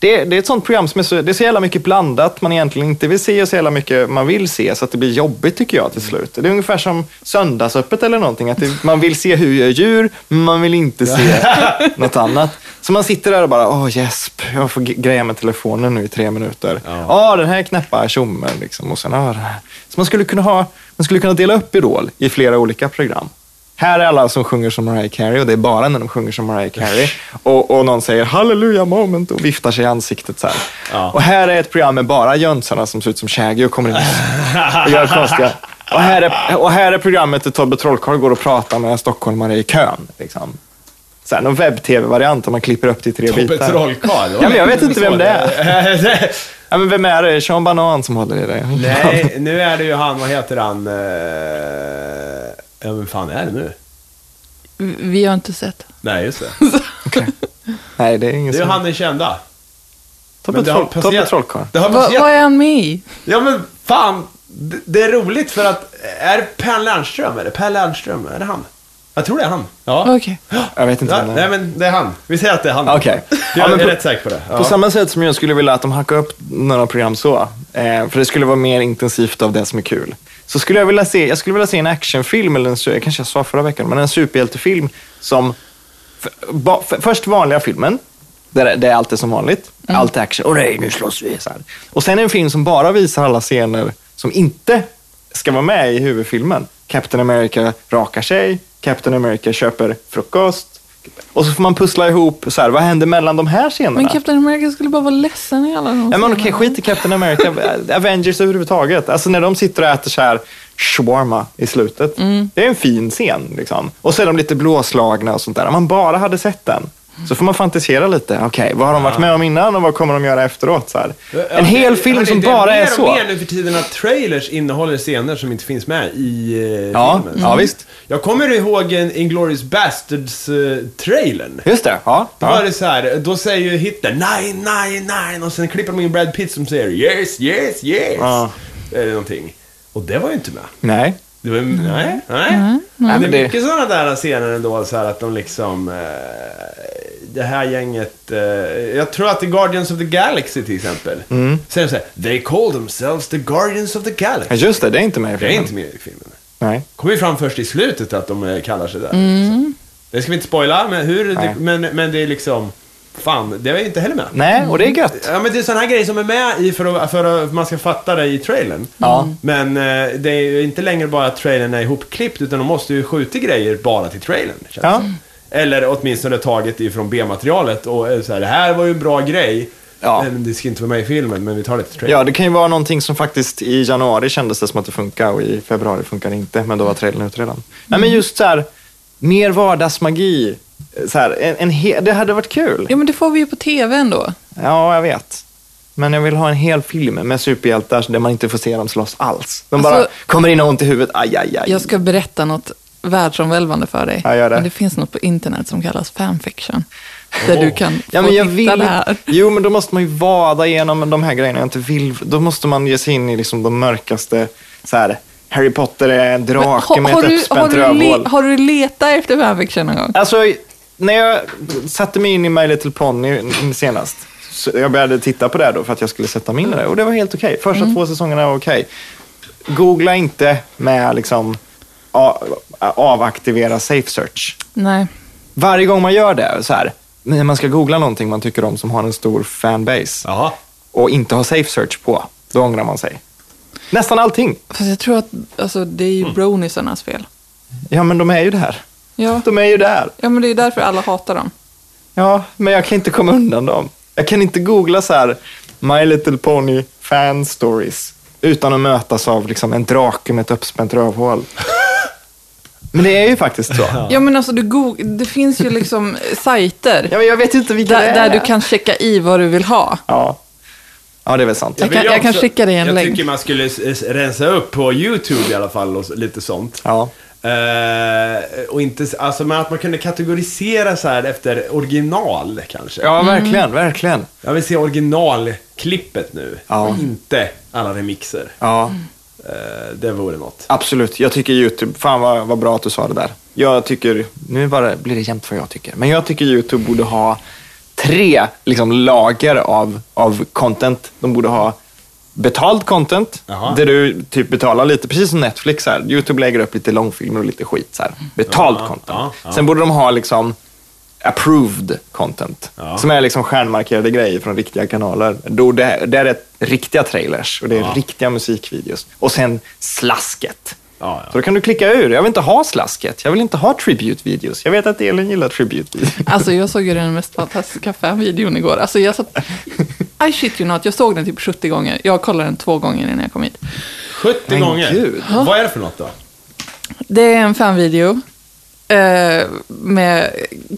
[SPEAKER 1] Det, det är ett sånt program som är så, det är så jävla mycket blandat man egentligen inte vill se och så jävla mycket man vill se så att det blir jobbigt tycker jag till slut. Det är ungefär som söndagsöppet eller någonting. Att det, man vill se hur jag gör djur, men man vill inte se något annat. Så man sitter där och bara, åh gäsp, jag får ge- greja med telefonen nu i tre minuter. Ja, den här knäppa tjommen liksom. Och sen, ah, den här. Så man skulle, kunna ha, man skulle kunna dela upp Idol i flera olika program. Här är alla som sjunger som Mariah Carey och det är bara när de sjunger som Mariah Carey. Och, och någon säger halleluja moment och viftar sig i ansiktet så här.
[SPEAKER 2] Ja.
[SPEAKER 1] Och här är ett program med bara jönsarna som ser ut som Shaggy och kommer in och gör konstiga... Och här, är, och här är programmet där Tobbe Trollkarl går och pratar med stockholmare i kön. Liksom. Så här, någon webb-tv-variant där man klipper upp det i tre
[SPEAKER 2] Tobbe
[SPEAKER 1] bitar.
[SPEAKER 2] Trollkarl.
[SPEAKER 1] Ja, men jag vet inte vem det
[SPEAKER 2] är.
[SPEAKER 1] Ja, men vem är det? Sean Banan som håller i det?
[SPEAKER 2] Nej, nu är det ju han, vad heter han? eh, Ja, men fan är det nu?
[SPEAKER 3] Vi- Vi har inte sett.
[SPEAKER 2] Nej, just det.
[SPEAKER 1] Nej, det är ingen
[SPEAKER 2] Det är ju
[SPEAKER 1] som...
[SPEAKER 2] han den kända.
[SPEAKER 1] Tobbe,
[SPEAKER 2] Men det har
[SPEAKER 1] Troll... Tobbe
[SPEAKER 2] passerat-
[SPEAKER 1] Trollkarl.
[SPEAKER 2] Det har
[SPEAKER 3] Va, vad
[SPEAKER 2] passerat.
[SPEAKER 3] är han med i?
[SPEAKER 2] Ja, men fan. Det, det är roligt för att, är det Per Lernström? Är det Per Lernström? Är det han? Jag tror det är han. Ja.
[SPEAKER 3] Okej.
[SPEAKER 1] Jag vet inte
[SPEAKER 2] Ja,
[SPEAKER 1] vem det
[SPEAKER 2] nej,
[SPEAKER 1] är.
[SPEAKER 2] men det är han. Vi säger att det är han.
[SPEAKER 1] Okej. Ja,
[SPEAKER 2] Jag
[SPEAKER 1] men
[SPEAKER 2] är
[SPEAKER 1] på-
[SPEAKER 2] rätt säker på det.
[SPEAKER 1] På
[SPEAKER 2] Ja.
[SPEAKER 1] samma sätt som jag skulle vilja att de hackar upp några program så, eh, för det skulle vara mer intensivt av det som är kul. Så skulle jag vilja se, jag skulle vilja se en actionfilm, eller en, su- kanske jag sa förra veckan, men en superhjältefilm som... För, ba, för, först vanliga filmen, där det- det är allt är som vanligt. Allt är action. Och nej, nu slåss vi. Så här. Och sen en film som bara visar alla scener som inte ska vara med i huvudfilmen. Captain America rakar sig, Captain America köper frukost. Och så får man pussla ihop, så här, vad händer mellan de här scenerna?
[SPEAKER 3] Men Captain America skulle bara vara ledsen i alla de
[SPEAKER 1] Ja, men okej,
[SPEAKER 3] scenerna.
[SPEAKER 1] skit i Captain America. Avengers överhuvudtaget. Alltså när de sitter och äter så här shawarma i slutet.
[SPEAKER 2] Mm.
[SPEAKER 1] Det är en fin scen. Liksom. Och så är de lite blåslagna och sånt där. Om man bara hade sett den så får man fantisera lite. Okej, vad har de varit med om innan och vad kommer de göra efteråt? Så här. En hel film som bara är
[SPEAKER 2] Det är
[SPEAKER 1] så.
[SPEAKER 2] mer och mer nu för tiden att trailers innehåller scener som inte finns med i eh,
[SPEAKER 1] Ja,
[SPEAKER 2] filmen.
[SPEAKER 1] ja, visst.
[SPEAKER 2] Jag kommer ihåg en Inglourious Bastards-trailern.
[SPEAKER 1] Just det, ja.
[SPEAKER 2] Då
[SPEAKER 1] ja.
[SPEAKER 2] var det så här, då säger ju Hitler nej, nej, nej och sen klipper de in Brad Pitt som säger yes, yes, yes.
[SPEAKER 1] Ja.
[SPEAKER 2] Eller någonting. Och det var ju inte med.
[SPEAKER 1] Nej.
[SPEAKER 2] Det var, nej, nej.
[SPEAKER 1] nej.
[SPEAKER 2] Det
[SPEAKER 1] Men det-
[SPEAKER 2] är mycket sådana där scener ändå, så här att de liksom... Eh, det här gänget... Eh, jag tror att det är Guardians of the Galaxy till exempel. Mm. Säger de så här, they call themselves the Guardians of the
[SPEAKER 1] Ja,
[SPEAKER 2] Galaxy.
[SPEAKER 1] Just det, det är inte med i
[SPEAKER 2] Det är
[SPEAKER 1] filmen.
[SPEAKER 2] inte med i filmen.
[SPEAKER 1] Nej.
[SPEAKER 2] Kommer ju fram först i slutet att de eh, kallar sig där. Så. Det ska vi inte spoila, men, hur,
[SPEAKER 1] Nej.
[SPEAKER 2] det, men, men det är liksom... Fan, det var ju inte heller med.
[SPEAKER 1] Nej, och det är gött.
[SPEAKER 2] Ja men det är sådana här grejer som är med i för att, för att man ska fatta det i trailern.
[SPEAKER 3] Mm.
[SPEAKER 1] Ja.
[SPEAKER 2] Men eh, det är ju inte längre bara att trailern är ihopklippt utan de måste ju skjuta grejer bara till trailern. känns
[SPEAKER 1] Ja.
[SPEAKER 2] det. Eller åtminstone taget ifrån B-materialet och eh, så här, det här var ju en bra grej.
[SPEAKER 1] Ja.
[SPEAKER 2] Men det ska inte vara med i filmen men vi tar det till trailern.
[SPEAKER 1] Ja, det kan ju vara någonting som faktiskt i januari kändes det som att det funkar och i februari funkar det inte, men då var trailern ute redan. Nej,
[SPEAKER 3] Mm.
[SPEAKER 1] men just så här, mer vardagsmagi. Så här, en, en he- det hade varit kul.
[SPEAKER 3] Ja, men det får vi ju på tv ändå.
[SPEAKER 1] Ja, jag vet. Men jag vill ha en hel film med superhjältar där man inte får se dem slåss alls. De bara
[SPEAKER 3] Alltså-
[SPEAKER 1] kommer in och har ont i huvudet. Aj, aj, aj.
[SPEAKER 3] Jag ska berätta något världsomvälvande för dig.
[SPEAKER 1] Ja, gör det.
[SPEAKER 3] Men det finns något på internet som kallas fanfiction. Där du kan
[SPEAKER 1] Ja,
[SPEAKER 3] få
[SPEAKER 1] men jag
[SPEAKER 3] hitta
[SPEAKER 1] vill...
[SPEAKER 3] det här.
[SPEAKER 1] Jo, men då måste man ju vada igenom de här grejerna jag inte vill. Då måste man ge sig in i liksom de mörkaste, så här, Harry Potter är en
[SPEAKER 3] Men
[SPEAKER 1] drake
[SPEAKER 3] har,
[SPEAKER 1] med
[SPEAKER 3] har,
[SPEAKER 1] ett
[SPEAKER 3] du, har,
[SPEAKER 1] uppspänt
[SPEAKER 3] du
[SPEAKER 1] rövhål.
[SPEAKER 3] le, har du letat efter fanfiction någon gång?
[SPEAKER 1] Alltså, när jag satte mig in i My Little Pony senast, så jag började titta på det då för att jag skulle sätta mig in i det och det var helt okej. Första två säsongerna var okej. Googla inte med liksom a- avaktivera safe search.
[SPEAKER 3] Nej.
[SPEAKER 1] Varje gång man gör det, så här, när man ska googla någonting man tycker om som har en stor fanbase
[SPEAKER 2] Jaha.
[SPEAKER 1] och inte har safe search på, då ångrar man sig. Nästan allting.
[SPEAKER 3] Fast jag tror att alltså, det är ju
[SPEAKER 1] Mm.
[SPEAKER 3] brownisarnas fel.
[SPEAKER 1] Ja, men de är ju där.
[SPEAKER 3] Ja.
[SPEAKER 1] De är ju där.
[SPEAKER 3] ja, men det är därför alla hatar dem.
[SPEAKER 1] Ja, men jag kan inte komma undan dem. Jag kan inte googla så här My Little Pony fan stories utan att mötas av liksom en drake med ett uppspänt rövhål. Men det är ju faktiskt så. Ja,
[SPEAKER 3] Ja, men alltså du goog- det finns ju liksom sajter
[SPEAKER 1] men jag vet ju inte vilka det
[SPEAKER 3] där,
[SPEAKER 1] är.
[SPEAKER 3] där du kan checka i vad du vill ha.
[SPEAKER 1] Ja, ja det är väl sant.
[SPEAKER 3] Jag kan-
[SPEAKER 2] vill
[SPEAKER 3] jag kan skicka dig en
[SPEAKER 2] jag
[SPEAKER 3] länk.
[SPEAKER 2] tycker man skulle s- s- rensa upp på YouTube i alla fall och s- lite sånt.
[SPEAKER 1] Ja.
[SPEAKER 2] Eh, och inte, s- alltså men att man kunde kategorisera så här efter original kanske.
[SPEAKER 1] Ja,
[SPEAKER 3] Mm.
[SPEAKER 1] verkligen, verkligen.
[SPEAKER 2] Jag vill se originalklippet nu.
[SPEAKER 1] Ja.
[SPEAKER 2] Och inte alla remixer.
[SPEAKER 1] Ja,
[SPEAKER 2] Eh, det vore något.
[SPEAKER 1] absolut. Jag tycker YouTube, fan vad, vad bra att du sa det där. Jag tycker, nu bara blir det jämnt vad jag tycker, men jag tycker YouTube borde ha tre liksom, lager av, av content. De borde ha betald content,
[SPEAKER 2] Jaha.
[SPEAKER 1] där du typ betalar lite, precis som Netflix. Så här. YouTube lägger upp lite långfilmer och lite skit. Så här. Betald
[SPEAKER 2] Ja,
[SPEAKER 1] content.
[SPEAKER 2] ja, ja.
[SPEAKER 1] Sen borde de ha liksom approved content,
[SPEAKER 2] Ja.
[SPEAKER 1] som är liksom stjärnmarkerade grejer från riktiga kanaler. Då det, där är riktiga trailers och det är
[SPEAKER 2] Ja.
[SPEAKER 1] riktiga musikvideos. Och sen slasket.
[SPEAKER 2] Ja, ja.
[SPEAKER 1] Så då kan du klicka ur. Jag vill inte ha slasket. Jag vill inte ha tribute-videos. Jag vet att Elin gillar tribute-videos.
[SPEAKER 3] Alltså jag såg ju den mest fantastiska fanvideon igår. Alltså jag satt... I shit you not, jag såg den typ 70 gånger. Jag kollade den två gånger innan jag kom hit.
[SPEAKER 2] 70
[SPEAKER 1] Men
[SPEAKER 2] gånger.
[SPEAKER 1] gud.
[SPEAKER 2] Vad är det för något då?
[SPEAKER 3] Det är en fanvideo eh, med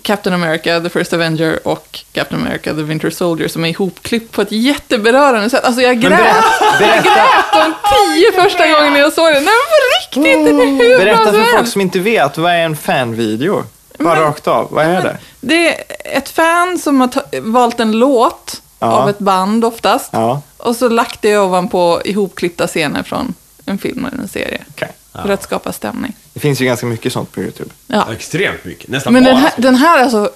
[SPEAKER 3] Captain America, The First Avenger och Captain America, The Winter Soldier som är ihopklippt på ett jätteberörande sätt. Alltså jag grät, jag grät de tio första gångerna jag såg den. Nej men på riktigt, den
[SPEAKER 1] Mm.
[SPEAKER 3] är hur bra
[SPEAKER 1] Berätta
[SPEAKER 3] som
[SPEAKER 1] för folk
[SPEAKER 3] helst.
[SPEAKER 1] som inte vet, vad är en fan-video? Bara rakt av, vad är det?
[SPEAKER 3] Det är ett fan som har ta- valt en låt
[SPEAKER 1] Ja.
[SPEAKER 3] av ett band oftast.
[SPEAKER 1] Ja.
[SPEAKER 3] Och så lagt det ovanpå ihopklippta scener från en film eller en serie.
[SPEAKER 1] Okej.
[SPEAKER 3] För att skapa stämning.
[SPEAKER 1] Det finns ju ganska mycket sånt på YouTube.
[SPEAKER 3] Ja.
[SPEAKER 2] Extremt mycket. Nästan
[SPEAKER 3] Men
[SPEAKER 2] bara.
[SPEAKER 3] den här, den här alltså,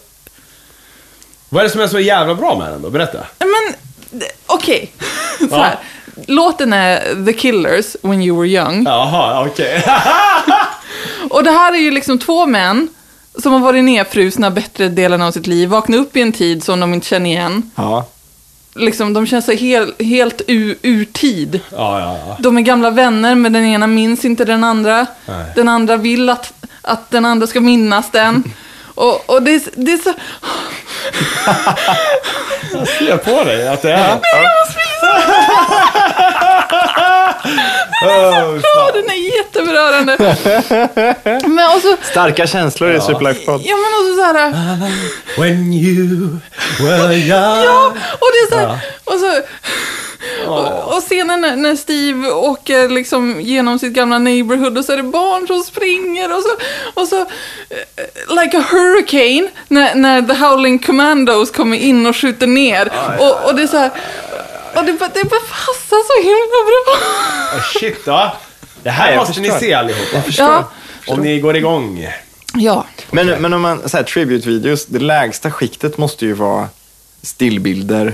[SPEAKER 2] Vad är det som är så jävla bra med den då? Berätta.
[SPEAKER 3] Nej, men d- okej. Så här. Låten är The Killers, When You Were Young.
[SPEAKER 2] Jaha, okej.
[SPEAKER 3] Och det här är ju liksom två män som har varit nedfrusna bättre delen av sitt liv, vaknat upp i en tid som de inte känner igen.
[SPEAKER 1] Ja.
[SPEAKER 3] Liksom, de känns så hel, helt ur, ur tid.
[SPEAKER 2] ja, ja, ja.
[SPEAKER 3] De är gamla vänner, men den ena minns inte den andra.
[SPEAKER 2] Nej.
[SPEAKER 3] Den andra vill att, att den andra ska minnas den. Och, och det, är, s- det är så...
[SPEAKER 2] ser på dig att det är... Åh,
[SPEAKER 3] Ja, den är jätteberörande. Men och så...
[SPEAKER 1] Starka känslor i Superlife-podd.
[SPEAKER 3] Ja, men och så, så här...
[SPEAKER 2] When you were young.
[SPEAKER 3] Ja, och det är så här, och så... Och, och scenen när, när Steve åker liksom genom sitt gamla neighborhood och så är det barn som springer och så... Och så eh, like a hurricane när, när The Howling Commandos kommer in och skjuter ner. Och, och det är så här... Och det, bara- det bara passar så himla bra.
[SPEAKER 2] Oh, shit, ja. Det
[SPEAKER 1] Ja,
[SPEAKER 2] här
[SPEAKER 1] jag
[SPEAKER 2] måste ni
[SPEAKER 1] förstår.
[SPEAKER 2] se allihopa.
[SPEAKER 3] Ja,
[SPEAKER 2] Om ni går igång.
[SPEAKER 3] ja.
[SPEAKER 1] Men, men om man, så här, tribute-videos, det lägsta skiktet måste ju vara stillbilder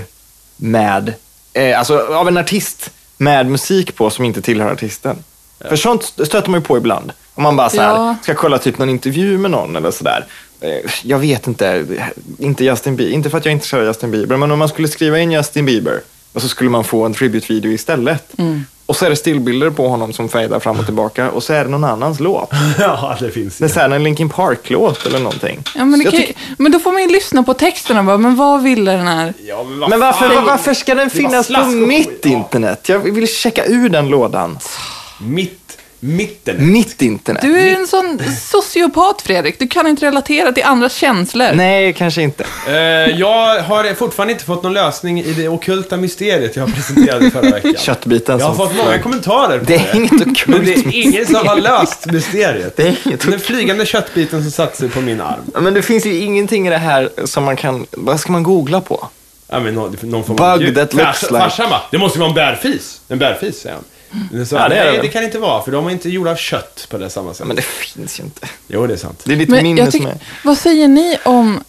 [SPEAKER 1] med, eh, alltså av en artist med musik på som inte tillhör artisten. För sånt stöter man ju på ibland. Om man bara så här,
[SPEAKER 3] Ja.
[SPEAKER 1] ska kolla typ någon intervju med någon eller sådär. Eh, Jag vet inte, inte Justin Bieber, inte för att jag är intresserad av Justin Bieber, men om man skulle skriva in Justin Bieber och så skulle man få en tribute-video istället. Och så är det stillbilder på honom som fejdar fram och tillbaka och så är det någon annans låt.
[SPEAKER 2] Ja, det finns
[SPEAKER 1] Det är
[SPEAKER 2] ju.
[SPEAKER 1] så här en Linkin Park-låt eller någonting.
[SPEAKER 3] ja men,
[SPEAKER 1] Så
[SPEAKER 3] det
[SPEAKER 1] jag
[SPEAKER 3] kan, ju-
[SPEAKER 1] tycker-
[SPEAKER 3] men då får man ju lyssna på texten och bara, men vad ville den här...
[SPEAKER 2] Ja, men,
[SPEAKER 1] men varför,
[SPEAKER 2] fan?
[SPEAKER 1] varför ska den
[SPEAKER 2] var
[SPEAKER 1] finnas på
[SPEAKER 2] slask och skit,
[SPEAKER 1] mitt
[SPEAKER 2] ja.
[SPEAKER 1] internet? Jag vill checka ur den lådan.
[SPEAKER 2] Mitt Mitten.
[SPEAKER 1] Mitt internet.
[SPEAKER 3] Du är en sån sociopat, Fredrik. Du kan inte relatera till andras känslor.
[SPEAKER 1] Nej, kanske inte.
[SPEAKER 2] Eh, jag har fortfarande inte fått någon lösning i det ockulta mysteriet jag presenterade förra veckan.
[SPEAKER 1] Köttbiten
[SPEAKER 2] Jag har
[SPEAKER 1] som
[SPEAKER 2] fått många
[SPEAKER 1] flög.
[SPEAKER 2] kommentarer på
[SPEAKER 1] Det är
[SPEAKER 2] det.
[SPEAKER 1] inget ockult.
[SPEAKER 2] Men det är ingen som har löst mysteriet.
[SPEAKER 1] Det är inget
[SPEAKER 2] Den flygande köttbiten som satte sig på min arm.
[SPEAKER 1] Men det finns ju ingenting i det här som man kan... Vad ska man googla på?
[SPEAKER 2] Ja, men någon, någon form
[SPEAKER 1] Bug
[SPEAKER 2] ljud.
[SPEAKER 1] that looks
[SPEAKER 2] Fars-
[SPEAKER 1] like-
[SPEAKER 2] Farsan bara, det måste ju vara en bärfis. En bärfis, säger han. Men Så,
[SPEAKER 1] Ja, det är det
[SPEAKER 2] nej,
[SPEAKER 1] väl.
[SPEAKER 2] det kan det inte vara, för de är inte gjorda av kött på det samma sätt.
[SPEAKER 1] Men det finns ju inte.
[SPEAKER 2] Jo, det är sant.
[SPEAKER 1] Det är ditt
[SPEAKER 3] Men
[SPEAKER 1] minne
[SPEAKER 3] jag
[SPEAKER 1] som
[SPEAKER 3] tycker,
[SPEAKER 1] är...
[SPEAKER 3] vad säger ni om...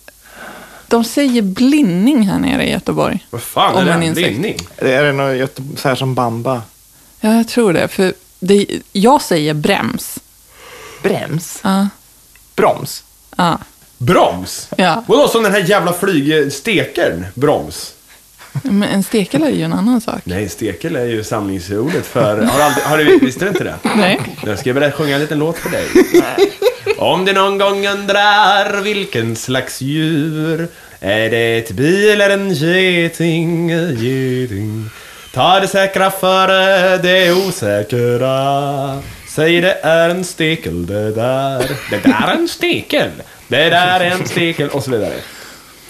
[SPEAKER 3] De säger blinning här nere i Göteborg.
[SPEAKER 2] Vad fan
[SPEAKER 3] Om
[SPEAKER 2] är
[SPEAKER 3] en
[SPEAKER 2] det?
[SPEAKER 3] insekt.
[SPEAKER 2] Bindning?
[SPEAKER 1] Det är något Göte- så här som bamba.
[SPEAKER 3] Ja, jag tror det. För det, jag säger brems.
[SPEAKER 1] Brems?
[SPEAKER 3] Ja,
[SPEAKER 1] Broms?
[SPEAKER 3] ja.
[SPEAKER 2] Broms?
[SPEAKER 3] Ja.
[SPEAKER 2] Vadå, som den här jävla flygstekern? Broms?
[SPEAKER 3] Men en stekel är ju en annan sak.
[SPEAKER 2] Nej, stekel är ju samlingsordet för... Har, aldrig, har du, visste du inte det?
[SPEAKER 3] Nej.
[SPEAKER 2] Jag ska börja sjunga en liten låt för dig. Om du någon gång undrar vilken slags djur Är det ett bi eller en geting? geting? Ta det säkra före det osäkra Säg det är en stekel det där Det där är en stekel Det där är en stekel och så vidare.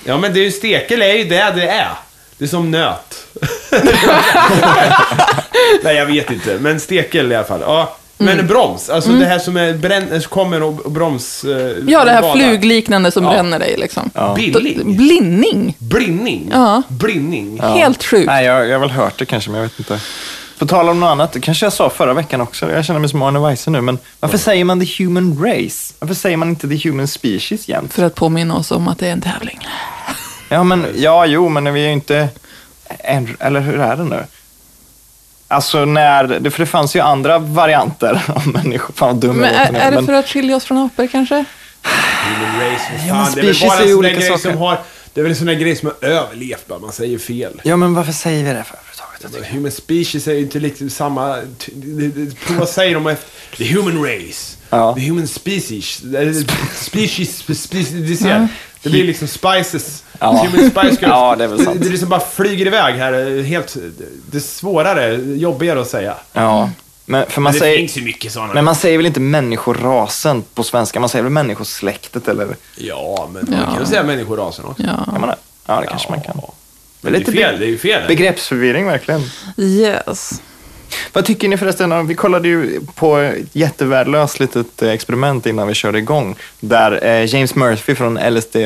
[SPEAKER 2] Ja men det är ju stekel är ju det det är. Det är som nöt. Nej, jag vet inte. Men stekel i alla fall. Ja. Men
[SPEAKER 3] Mm.
[SPEAKER 2] broms, alltså det här som är brän- som kommer och och broms... eh,
[SPEAKER 3] Ja, det här
[SPEAKER 2] badar.
[SPEAKER 3] flugliknande som bränner dig liksom.
[SPEAKER 2] Billing.
[SPEAKER 3] Blinning.
[SPEAKER 2] Brinning.
[SPEAKER 3] Ja.
[SPEAKER 2] Brinning.
[SPEAKER 3] Helt sjukt.
[SPEAKER 1] Nej, jag, jag har väl hört det kanske, men jag vet inte. På tal om något annat, det kanske jag sa förra veckan också. Jag känner mig som Arne Weise nu, men varför säger man the human race? Varför säger man inte the human species jämt?
[SPEAKER 3] För att påminna oss om att det är en tävling.
[SPEAKER 1] Ja, men ja, jo, men vi är ju inte... En, eller hur är det nu? Alltså när, det- för det fanns ju andra varianter av människor. Fan vad dum
[SPEAKER 3] Men
[SPEAKER 1] jag
[SPEAKER 3] är,
[SPEAKER 1] låter nu,
[SPEAKER 3] är det
[SPEAKER 1] men-
[SPEAKER 3] för att skilja oss från apor kanske?
[SPEAKER 2] Human race, vad fan.
[SPEAKER 1] Ja, men
[SPEAKER 2] det är väl
[SPEAKER 1] species
[SPEAKER 2] bara
[SPEAKER 1] är
[SPEAKER 2] en
[SPEAKER 1] ju
[SPEAKER 2] sån där
[SPEAKER 1] olika
[SPEAKER 2] grej
[SPEAKER 1] saker.
[SPEAKER 2] som har... Det är väl en sån där grej som har överlevt bara, man säger fel.
[SPEAKER 1] Ja, men varför säger vi det för överhuvudtaget? Jag tycker-
[SPEAKER 2] Human species är ju inte liksom samma... ty- det- det- för Vad säger de efter... The human race.
[SPEAKER 1] Ja.
[SPEAKER 2] The human species. Eh, Species, spe- species, du ser. Det blir liksom spices.
[SPEAKER 1] Ja.
[SPEAKER 2] Human spice girls.
[SPEAKER 1] Ja, det är väl sant.
[SPEAKER 2] Det, det liksom bara flyger iväg här. eh, Helt... Det är svårare, jobbigare att säga.
[SPEAKER 1] Ja, men för man
[SPEAKER 2] det
[SPEAKER 1] säger...
[SPEAKER 2] finns ju mycket sådana.
[SPEAKER 1] Men man säger väl inte människorasen på svenska? Man säger väl människosläktet eller?
[SPEAKER 2] Ja, men
[SPEAKER 3] Ja.
[SPEAKER 2] man kan ju säga människorasen också.
[SPEAKER 1] Kan
[SPEAKER 3] Ja.
[SPEAKER 1] man det? Ja, det kanske man kan.
[SPEAKER 2] Det är ju fel, det är ju fel.
[SPEAKER 1] Begreppsförvirring verkligen.
[SPEAKER 3] Yes.
[SPEAKER 1] Vad tycker ni förresten? om- Vi kollade ju på ett jättevärdelöst litet eh, experiment innan vi körde igång. Där eh, James Murphy från LSD,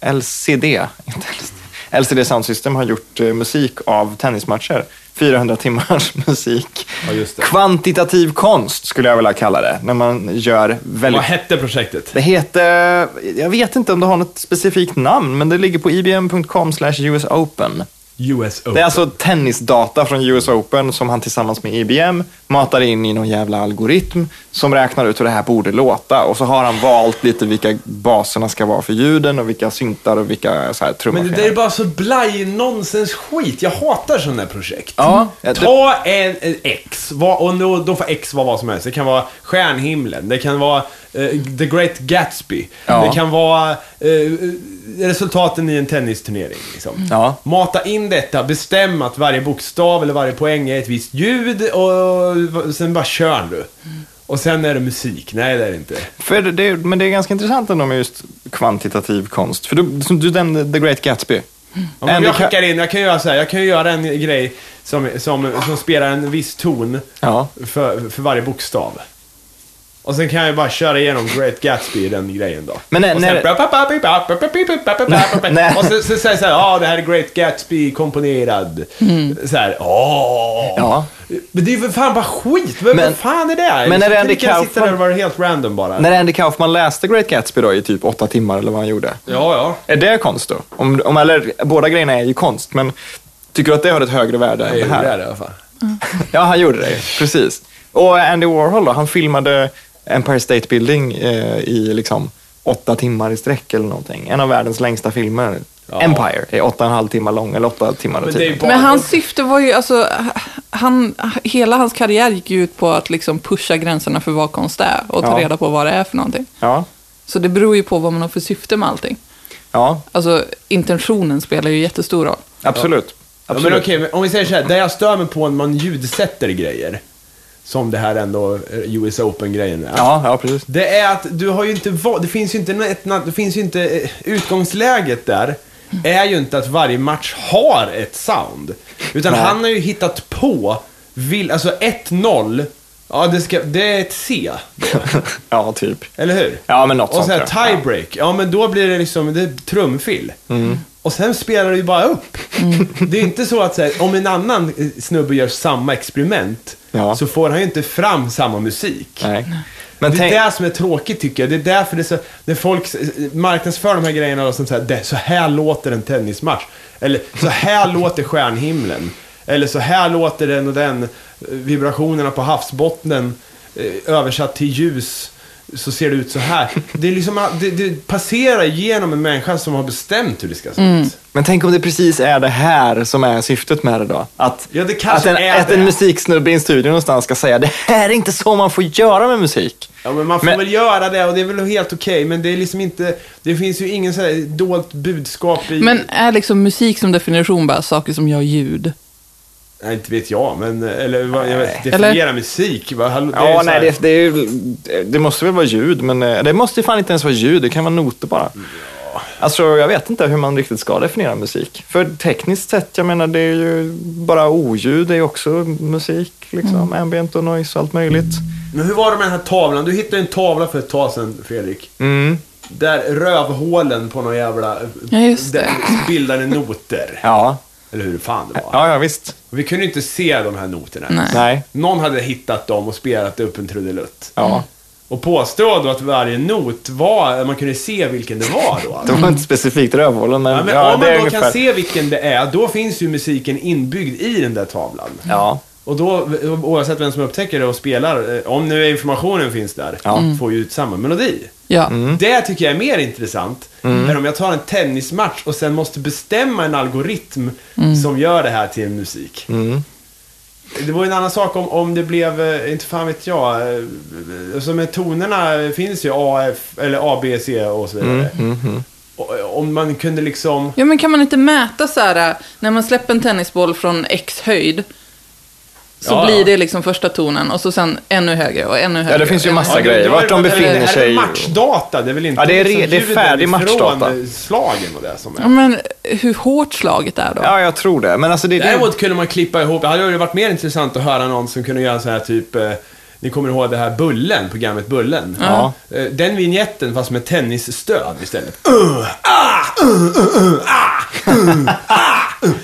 [SPEAKER 1] LCD, inte LSD, LCD Sound System har gjort eh, musik av tennismatcher. 400 timmars musik.
[SPEAKER 2] Ja, just det.
[SPEAKER 1] Kvantitativ konst skulle jag vilja kalla det. När man gör väldigt
[SPEAKER 2] Vad hette projektet?
[SPEAKER 1] Det heter, jag vet inte om det har något specifikt namn, men det ligger på ibm.com slash US Open.
[SPEAKER 2] US
[SPEAKER 1] Det är
[SPEAKER 2] Open.
[SPEAKER 1] alltså tennisdata från US Open som han tillsammans med IBM matar in i någon jävla algoritm som räknar ut hur det här borde låta. Och så har han valt lite vilka baserna ska vara för ljuden och vilka syntar och vilka så här
[SPEAKER 2] Men det där är
[SPEAKER 1] trummaskiner.
[SPEAKER 2] bara så blaj nonsens skit. Jag hatar sådana där projekt.
[SPEAKER 1] Ja, ja, det-
[SPEAKER 2] Ta en, en X, vad, och då, då får X vara vad som helst. Det kan vara stjärnhimlen, det kan vara eh, The Great Gatsby,
[SPEAKER 1] Ja.
[SPEAKER 2] det kan vara eh, resultaten i en tennisturnering. Liksom.
[SPEAKER 1] Mm. Ja.
[SPEAKER 2] Mata in detta, bestäm att varje bokstav eller varje poäng är ett visst ljud och sen bara kör du.
[SPEAKER 1] Mm.
[SPEAKER 2] Och sen är det musik. Nej, det är det inte.
[SPEAKER 1] För det, det, men det är ganska intressant ändå med just kvantitativ konst. För du, som du nämnde The Great Gatsby.
[SPEAKER 2] Ja, men
[SPEAKER 1] Andy
[SPEAKER 2] jag
[SPEAKER 1] Ca-
[SPEAKER 2] skickar in, jag kan göra så här, jag kan ju göra en grej som, som, som spelar en viss ton
[SPEAKER 1] Ja.
[SPEAKER 2] för, för varje bokstav. Och sen kan jag ju bara köra igenom Great Gatsby i den grejen då.
[SPEAKER 1] Men när-
[SPEAKER 2] och
[SPEAKER 1] när- Nej.
[SPEAKER 2] sen... Och så, så säger jag så här, ja det här är Great Gatsby komponerad. Så här, åh.
[SPEAKER 1] Ja.
[SPEAKER 2] Men det är ju för fan bara skit, men,
[SPEAKER 1] Men-
[SPEAKER 2] vad fan är det?
[SPEAKER 1] men när
[SPEAKER 2] Så
[SPEAKER 1] Andy
[SPEAKER 2] kan jag sitta där
[SPEAKER 1] Kaufman-
[SPEAKER 2] och vara helt random bara.
[SPEAKER 1] När Andy Kaufman läste Great Gatsby då i typ åtta timmar eller vad han gjorde.
[SPEAKER 2] Ja, ja.
[SPEAKER 1] Är det konst då? Om, om, eller, båda grejerna är ju konst, men tycker du att det har ett högre värde än det
[SPEAKER 2] Jag gjorde det
[SPEAKER 1] här?
[SPEAKER 2] i alla fall.
[SPEAKER 1] Ja, han gjorde det. Precis. Och eh, Andy Warhol då, han filmade Empire State Building eh, i liksom åtta timmar i sträck eller någonting. En av världens längsta filmer.
[SPEAKER 2] Ja.
[SPEAKER 1] Empire är åtta och en halv timmar lång, eller åtta timmar och
[SPEAKER 2] Men det är
[SPEAKER 1] tio.
[SPEAKER 2] ju bara...
[SPEAKER 3] Men hans syfte var ju, alltså, han, hela hans karriär gick ju ut på att liksom pusha gränserna för vad konst är och ta
[SPEAKER 1] Ja.
[SPEAKER 3] reda på vad det är för någonting.
[SPEAKER 1] Ja,
[SPEAKER 3] Så det beror ju på vad man har för syfte med allting.
[SPEAKER 1] ja,
[SPEAKER 3] Alltså, intentionen spelar ju jättestor roll.
[SPEAKER 1] absolut.
[SPEAKER 2] Ja, men
[SPEAKER 1] absolut.
[SPEAKER 2] okej, men om vi säger så här, där jag stör mig på när man ljudsätter grejer. Som det här ändå eh, US Open-grejen är.
[SPEAKER 1] Ja, ja precis.
[SPEAKER 2] Det är att du har ju inte va- det finns ju inte, ett, na- det finns ju inte, eh, utgångsläget där är ju inte att varje match har ett sound. Utan
[SPEAKER 1] Nej.
[SPEAKER 2] han har ju hittat på, vill, alltså 1-0, ja det, ska, det är ett C.
[SPEAKER 1] ja, typ.
[SPEAKER 2] Eller hur?
[SPEAKER 1] Ja, men något
[SPEAKER 2] Och
[SPEAKER 1] sånt.
[SPEAKER 2] sen
[SPEAKER 1] tror jag.
[SPEAKER 2] tiebreak, ja men då blir det liksom det är trumfill.
[SPEAKER 1] Mm.
[SPEAKER 2] Och sen spelar du ju bara upp. Det är inte så att så här, om en annan eh, snubbe gör samma experiment
[SPEAKER 1] Ja.
[SPEAKER 2] så får han ju inte fram samma musik.
[SPEAKER 1] Nej. Men
[SPEAKER 2] det är
[SPEAKER 1] tänk...
[SPEAKER 2] det som är tråkigt tycker jag. Det är därför det är så, när folk s- marknadsför de här grejerna och sånt så här, det, så här låter en tennismatch. Eller så här låter stjärnhimlen. Eller så här låter den och den eh, vibrationerna på havsbottnen eh, översatt till ljus. Så ser det ut så här. Det, är liksom, det, det passerar genom en människa som har bestämt hur det ska se ut.
[SPEAKER 1] Men tänk om det precis är det här som är syftet med det då? Att,
[SPEAKER 2] Ja, det
[SPEAKER 1] att,
[SPEAKER 2] kanske
[SPEAKER 1] en,
[SPEAKER 2] är
[SPEAKER 1] att
[SPEAKER 2] det.
[SPEAKER 1] en musiksnubbe i en studio någonstans ska säga det här är inte så man får göra med musik.
[SPEAKER 2] Ja, men man får
[SPEAKER 1] Men-
[SPEAKER 2] väl göra det och det är väl helt okej. men det är liksom inte, det finns ju ingen så här dolt budskap i...
[SPEAKER 3] Men är liksom musik som definition bara saker som gör ljud?
[SPEAKER 2] Nej, inte vet jag, men eller vad, jag vet,
[SPEAKER 3] Eller-
[SPEAKER 2] definiera musik. Vad, hallå, det är ju
[SPEAKER 1] Ja,
[SPEAKER 2] så
[SPEAKER 1] nej,
[SPEAKER 2] här-
[SPEAKER 1] det, det, är ju, det måste väl vara ljud, men eh, det måste ju fan inte ens vara ljud, det kan vara noter bara. Alltså, jag vet inte hur man riktigt ska definiera musik. För tekniskt sett, jag menar, det är ju bara oljud, det är ju också musik, liksom, ambient och noise och allt möjligt.
[SPEAKER 2] Men hur var det med den här tavlan? Du hittade en tavla för ett tag sedan, Fredrik.
[SPEAKER 1] Mm.
[SPEAKER 2] Där rövhålen på någon jävla... eh,
[SPEAKER 3] Ja, just det.
[SPEAKER 2] där bildade noter.
[SPEAKER 1] Ja.
[SPEAKER 2] Eller hur fan det var.
[SPEAKER 1] ja, ja visst.
[SPEAKER 2] Vi kunde inte se de här noterna.
[SPEAKER 3] Nej.
[SPEAKER 1] Nej.
[SPEAKER 2] Någon hade hittat dem och spelat upp en trudelutt.
[SPEAKER 1] Ja.
[SPEAKER 2] Och påstod då att varje not var, man kunde se vilken det var då.
[SPEAKER 1] Det
[SPEAKER 2] Alltså.
[SPEAKER 1] var inte specifikt rövhålen, men,
[SPEAKER 2] Ja, men
[SPEAKER 1] ja,
[SPEAKER 2] om
[SPEAKER 1] det
[SPEAKER 2] man
[SPEAKER 1] är
[SPEAKER 2] då
[SPEAKER 1] ungefär.
[SPEAKER 2] kan se vilken det är, då finns ju musiken inbyggd i den där tavlan.
[SPEAKER 1] Ja.
[SPEAKER 2] Och då, oavsett vem som upptäcker det och spelar, eh, om nu informationen finns där, Mm. får ju ut samma melodi.
[SPEAKER 3] Ja.
[SPEAKER 1] Mm.
[SPEAKER 2] Det tycker jag är mer intressant, än om jag tar en tennismatch och sen måste bestämma en algoritm som gör det här till en musik. Det var ju en annan sak om, om det blev, eh, inte fan vet jag, eh, alltså med tonerna finns ju A, F, eller A, B, C och så vidare. Och, eh, Om man kunde liksom...
[SPEAKER 3] Ja, men kan man inte mäta så här, när man släpper en tennisboll från X höjd, så
[SPEAKER 2] Ja, ja.
[SPEAKER 3] blir det liksom första tonen och så sen ännu högre och ännu högre.
[SPEAKER 1] ja, det finns ju
[SPEAKER 3] och ännu
[SPEAKER 1] massa
[SPEAKER 2] Ja,
[SPEAKER 3] högre.
[SPEAKER 2] det-
[SPEAKER 1] grejer.
[SPEAKER 2] då
[SPEAKER 1] Vart
[SPEAKER 2] är
[SPEAKER 1] de
[SPEAKER 2] det-
[SPEAKER 1] befinner
[SPEAKER 2] Det här
[SPEAKER 1] sig.
[SPEAKER 2] är matchdata, det är väl inte liksom
[SPEAKER 1] Ja, det är re- det är
[SPEAKER 2] ljuden
[SPEAKER 1] färdig
[SPEAKER 2] ifrån
[SPEAKER 1] matchdata.
[SPEAKER 2] slagen och det som är.
[SPEAKER 3] Ja, men hur hårt slaget är då?
[SPEAKER 1] Ja, jag tror det. Men alltså, det, det...
[SPEAKER 2] Däremot kunde man klippa ihop, det hade ju varit mer intressant att höra någon som kunde göra så här typ, eh, ni kommer ihåg det här Bullen, programmet Bullen?
[SPEAKER 1] Ja.
[SPEAKER 2] Eh, Den vignetten fast med tennisstöd istället. Uh, ah, uh, uh, uh, ah.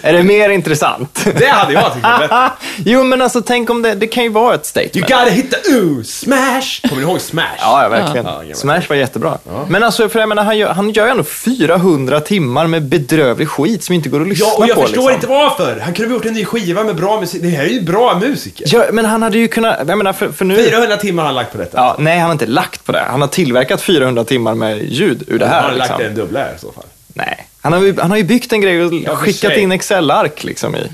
[SPEAKER 1] Är det mer intressant?
[SPEAKER 2] Det hade jag tyckt var bättre.
[SPEAKER 1] jo, men alltså tänk om det... Det kan ju vara ett statement.
[SPEAKER 2] You gotta hit the ooh, smash! Kommer ni ihåg smash?
[SPEAKER 1] Ja, ja verkligen.
[SPEAKER 2] Ja, jävlar.
[SPEAKER 1] Smash var jättebra. Men alltså, för jag menar, han, gör, han gör ju ändå 400 timmar med bedrövlig skit som inte går att lyssna
[SPEAKER 2] Ja,
[SPEAKER 1] på.
[SPEAKER 2] och jag förstår
[SPEAKER 1] liksom.
[SPEAKER 2] inte varför. Han kunde ha gjort en ny skiva med bra musik. Det här är ju bra musiker.
[SPEAKER 1] Ja, men han hade ju kunnat, jag menar, för, för nu...
[SPEAKER 2] 400 timmar har han lagt på detta.
[SPEAKER 1] Ja, nej, han har inte lagt på det. Han har tillverkat 400 timmar med ljud ur det
[SPEAKER 2] Han
[SPEAKER 1] här.
[SPEAKER 2] har lagt
[SPEAKER 1] liksom.
[SPEAKER 2] en dubblare i så fall.
[SPEAKER 1] Nej. Han har, ju, han har ju byggt en grej och
[SPEAKER 2] för
[SPEAKER 1] skickat
[SPEAKER 2] sig.
[SPEAKER 1] in Excel-ark liksom i.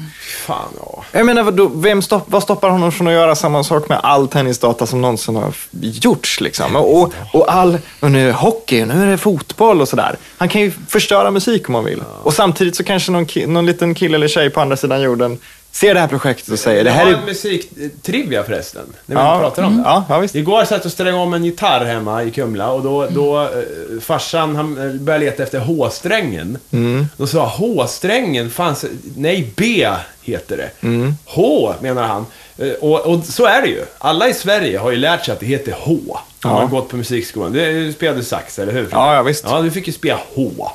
[SPEAKER 2] Fan, ja.
[SPEAKER 1] Jag menar, vadå, vem stopp, vad stoppar honom från att göra samma sak med all tennisdata som någonsin har f- gjorts? Liksom? Och, och all, och nu är det hockey, nu är det fotboll och sådär. Han kan ju förstöra musik om han vill. Och samtidigt så kanske någon, ki- någon liten kille eller tjej på andra sidan jorden ser det här projektet och säger det här
[SPEAKER 2] Jag
[SPEAKER 1] är...
[SPEAKER 2] har en musiktrivia förresten, när vi pratar om det.
[SPEAKER 1] Ja, ja, visst.
[SPEAKER 2] Igår satt jag och ställde om en gitarr hemma i Kumla och
[SPEAKER 1] Mm.
[SPEAKER 2] då, då eh, farsan han eh, började leta efter H-strängen.
[SPEAKER 1] Mm.
[SPEAKER 2] Då sa jag, H-strängen fanns, nej B heter det.
[SPEAKER 1] Mm.
[SPEAKER 2] H menar han. Eh, Och, och så är det ju. Alla i Sverige har ju lärt sig att det heter H. Om man har gått på musikskolan. Du spelade sax, eller hur?
[SPEAKER 1] Ja, ja, visst.
[SPEAKER 2] Ja, du fick ju spela H.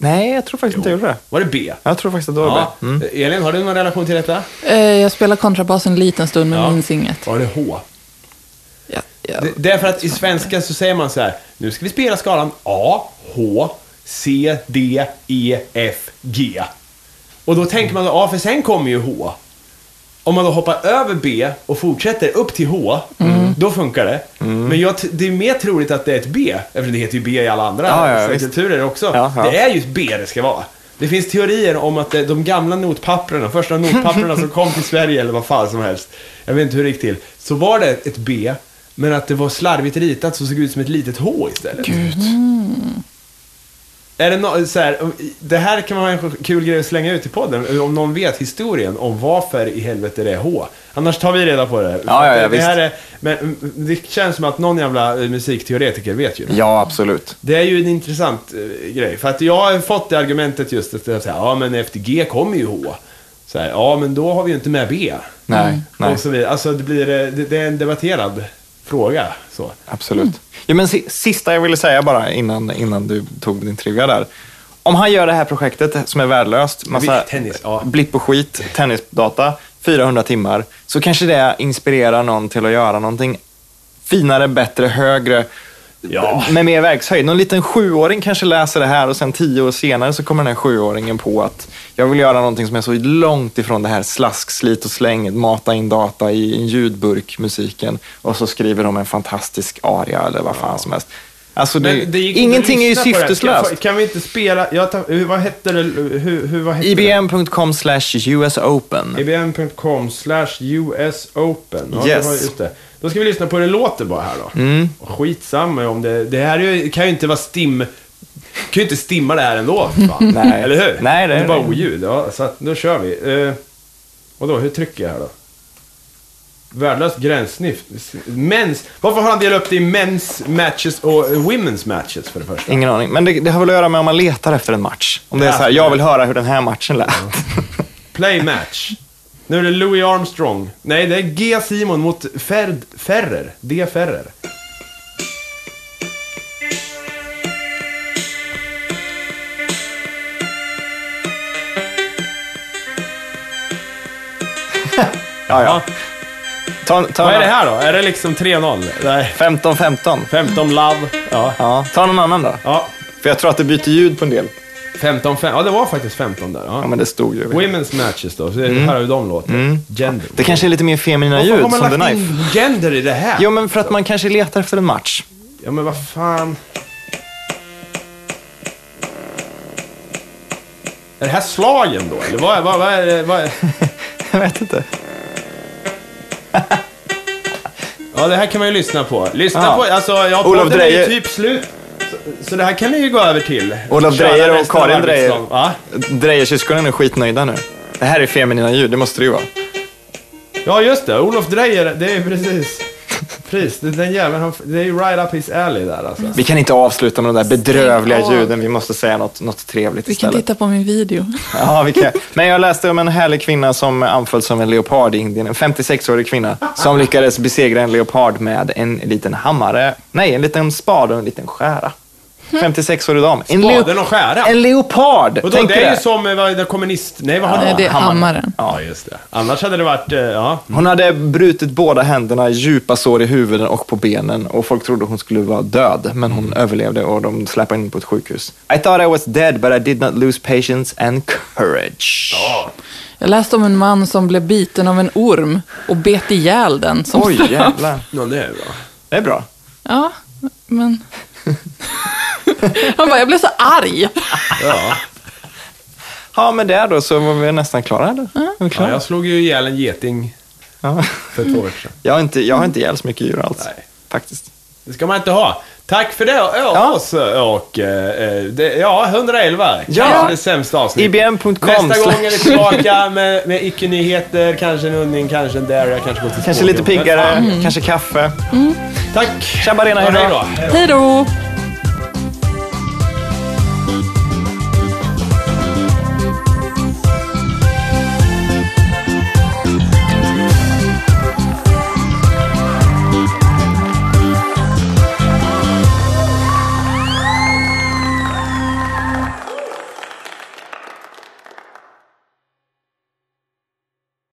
[SPEAKER 1] Nej, jag tror faktiskt inte jag gjorde det.
[SPEAKER 2] Var det B?
[SPEAKER 1] Jag tror faktiskt att det var
[SPEAKER 2] Ja.
[SPEAKER 1] det.
[SPEAKER 2] Elin, har du någon relation till detta?
[SPEAKER 3] Eh, Jag spelar kontrabas en liten stund men
[SPEAKER 2] Ja.
[SPEAKER 3] minns inget.
[SPEAKER 2] Var det H?
[SPEAKER 3] Ja, ja.
[SPEAKER 2] Det, det är för att i svenska så säger man så här, nu ska vi spela skalan A, H, C, D, E, F, G. Och då tänker man då, ja för sen kommer ju H. Om man då hoppar över B och fortsätter upp till H,
[SPEAKER 1] Mm.
[SPEAKER 2] då funkar det. Men jag, t- det är mer troligt att det är ett B, eftersom det heter ju B i alla andra
[SPEAKER 1] Ja, ja, visst.
[SPEAKER 2] kulturer också.
[SPEAKER 1] Ja, ja.
[SPEAKER 2] Det är ju ett B det ska vara. Det finns teorier om att det- de gamla notpapperna, första notpapperna som kom till Sverige eller vad fan som helst, jag vet inte hur det gick till, så var det ett B, men att det var slarvigt ritat så såg det ut som ett litet H istället.
[SPEAKER 1] Gud.
[SPEAKER 2] Mm. Är det no, så här, det här kan vara en kul grej att slänga ut i podden, om någon vet historien om varför i helvete det är H. Annars tar vi reda på det.
[SPEAKER 1] Ja, ja, ja,
[SPEAKER 2] det,
[SPEAKER 1] visst.
[SPEAKER 2] här är, men mm, det känns som att någon jävla eh, musikteoretiker vet ju det.
[SPEAKER 1] Ja, absolut.
[SPEAKER 2] Det är ju en intressant eh, grej, för att jag har fått det argumentet just att säga, ja men efter G kommer ju H. Så här, ja men då har vi ju inte med B.
[SPEAKER 1] Nej, nej.
[SPEAKER 2] Och så vidare. Alltså det, blir, eh, det, det är en debatterad fråga. Så.
[SPEAKER 1] Absolut. Ja, men si- sista jag ville säga bara innan, innan du tog din trivia där. Om han gör det här projektet som är värdelöst, massa
[SPEAKER 2] Tennis, ja.
[SPEAKER 1] blipp och skit, tennisdata, 400 timmar, så kanske det inspirerar någon till att göra någonting finare, bättre, högre,
[SPEAKER 2] Ja.
[SPEAKER 1] med mer verkshöjd. Någon liten sjuåring kanske läser det här och sen tio år senare så kommer den här sjuåringen på att jag vill göra någonting som är så långt ifrån det här slask, slit och släng, mata in data i en ljudburk, musiken, och så skriver de en fantastisk aria eller vad fan som helst. Alltså, det,
[SPEAKER 2] Men det gick inte
[SPEAKER 1] ingenting är
[SPEAKER 2] att
[SPEAKER 1] ju
[SPEAKER 2] lyssna på det här. Kan-
[SPEAKER 1] syfteslöst.
[SPEAKER 2] Kan vi inte spela, jag tar, hur- vad hette det, hur, hur vad hette det?
[SPEAKER 1] IBM.com slash US
[SPEAKER 2] E
[SPEAKER 1] Open.
[SPEAKER 2] IBM.com slash US Open. Ja,
[SPEAKER 1] Yes.
[SPEAKER 2] det var just det. Då ska vi lyssna på hur det låter bara här då. Mm. Skitsamma om det, det här är ju- kan ju inte vara stim, kan ju inte stimma det här ändå. för Fan.
[SPEAKER 1] Nej.
[SPEAKER 2] Eller hur?
[SPEAKER 1] Nej, det är
[SPEAKER 2] är bara
[SPEAKER 1] det.
[SPEAKER 2] oljud. Ja, så att, då kör vi. Uh, och då, hur trycker jag här då? Värdelös gränssniff. Mens. Varför har han delat upp det i mens matches och eh, women's matches för det första?
[SPEAKER 1] Ingen aning. Men det, det har väl att göra med om man letar efter en match. Om det är så här, jag vill höra hur den här matchen lät.
[SPEAKER 2] Play match. Nu är det Louis Armstrong. Nej, det är G. Simon mot Ferd, Ferrer. D. Ferrer.
[SPEAKER 1] Ja, ja. Ta, ta
[SPEAKER 2] Vad är det här då? Är det liksom 3-0? Nej.
[SPEAKER 1] 15-15.
[SPEAKER 2] 15 love. Ja.
[SPEAKER 1] Ja, ta någon annan då.
[SPEAKER 2] ja.
[SPEAKER 1] För jag tror att det byter ljud på en del.
[SPEAKER 2] 15 fem. Ja, det var faktiskt 15 där.
[SPEAKER 1] Ja,
[SPEAKER 2] Ja.
[SPEAKER 1] men det stod ju.
[SPEAKER 2] Women's matches då. Så här har ju de låter. Gender.
[SPEAKER 1] Mm. Det kanske är lite mer feminina ljud,
[SPEAKER 2] Varför
[SPEAKER 1] som
[SPEAKER 2] har
[SPEAKER 1] The
[SPEAKER 2] man lagt
[SPEAKER 1] Knife.
[SPEAKER 2] in gender i det här?
[SPEAKER 1] Jo, men för att man kanske letar efter en match.
[SPEAKER 2] Ja, men vad fan. Är det här slagen då? Eller vad, vad, vad är det? Vad är...
[SPEAKER 1] Jag vet inte.
[SPEAKER 2] Ja, det här kan man ju lyssna på. Lyssna
[SPEAKER 1] Ja.
[SPEAKER 2] på, alltså, ja,
[SPEAKER 1] Olof
[SPEAKER 2] podden är ju
[SPEAKER 1] Drejer.
[SPEAKER 2] typ slut. Så, så det här kan ni ju gå över till.
[SPEAKER 1] Olof
[SPEAKER 2] Köra
[SPEAKER 1] Drejer och
[SPEAKER 2] resten
[SPEAKER 1] Karin
[SPEAKER 2] av
[SPEAKER 1] Drejer.
[SPEAKER 2] arbetslag. Va?
[SPEAKER 1] Drejersyskonen är skitnöjda nu. Det här är feminina ljud, det måste det ju vara.
[SPEAKER 2] Ja, just det. Olof Drejer, det är ju precis. Pris, det- den jäveln, han, det är ju right up his alley där alltså.
[SPEAKER 1] Vi kan inte avsluta med de där bedrövliga
[SPEAKER 3] av.
[SPEAKER 1] ljuden, vi måste säga något, något trevligt
[SPEAKER 3] Vi kan
[SPEAKER 1] istället.
[SPEAKER 3] titta på min video.
[SPEAKER 1] Ja, vi kan. Men jag läste om en härlig kvinna som anfölls av en leopard i Indien. En 56-årig kvinna som lyckades besegra en leopard med en liten hammare. Nej, en liten spade och en liten skära. 56-årig dam. En leo-
[SPEAKER 2] Spaden och skära.
[SPEAKER 1] En leopard!
[SPEAKER 2] Och då,
[SPEAKER 1] Tänk
[SPEAKER 2] det är
[SPEAKER 1] det.
[SPEAKER 2] ju som eh, vad, är det kommunist... Nej, vad har
[SPEAKER 3] Nej,
[SPEAKER 2] du?
[SPEAKER 3] det är hammaren.
[SPEAKER 2] Ja, just det. Annars hade det varit, eh, ja.
[SPEAKER 1] Hon hade brutit båda händerna, djupa sår i huvudet och på benen och folk trodde hon skulle vara död, men hon överlevde och de släpade in på ett sjukhus. I thought I was dead but I did not lose patience and courage.
[SPEAKER 3] Jag läste om en man som blev biten av en orm och bet ihjäl den som
[SPEAKER 1] Oj,
[SPEAKER 3] straff.
[SPEAKER 1] jävlar.
[SPEAKER 2] Ja, det är bra.
[SPEAKER 1] Det är bra.
[SPEAKER 3] Ja, men... Han bara, jag blev så arg.
[SPEAKER 2] Ja.
[SPEAKER 1] Ja, men där då så var vi nästan klara. Då. Är vi
[SPEAKER 2] ja,
[SPEAKER 1] klara?
[SPEAKER 2] jag slog ju ihjäl en geting
[SPEAKER 1] Ja.
[SPEAKER 2] för två år sedan.
[SPEAKER 1] Jag har inte, jag har inte ihjäl så mycket djur alls.
[SPEAKER 2] Nej.
[SPEAKER 1] Faktiskt.
[SPEAKER 2] Det ska man inte ha. Tack för det och
[SPEAKER 1] Ja.
[SPEAKER 2] oss och eh, eh, det, ja, 111.
[SPEAKER 1] Ja.
[SPEAKER 2] Kanske det sämsta avsnittet.
[SPEAKER 1] IBM.com.
[SPEAKER 2] Nästa gång är vi tillbaka med, med icke-nyheter, kanske en hundning, kanske en dairy, kanske går till
[SPEAKER 1] Kanske
[SPEAKER 2] Skåne.
[SPEAKER 1] Mm. lite piggare, kanske kaffe.
[SPEAKER 2] Tack!
[SPEAKER 1] Tjabbarena, hej då.
[SPEAKER 2] Ja, hej då.
[SPEAKER 3] Hej då!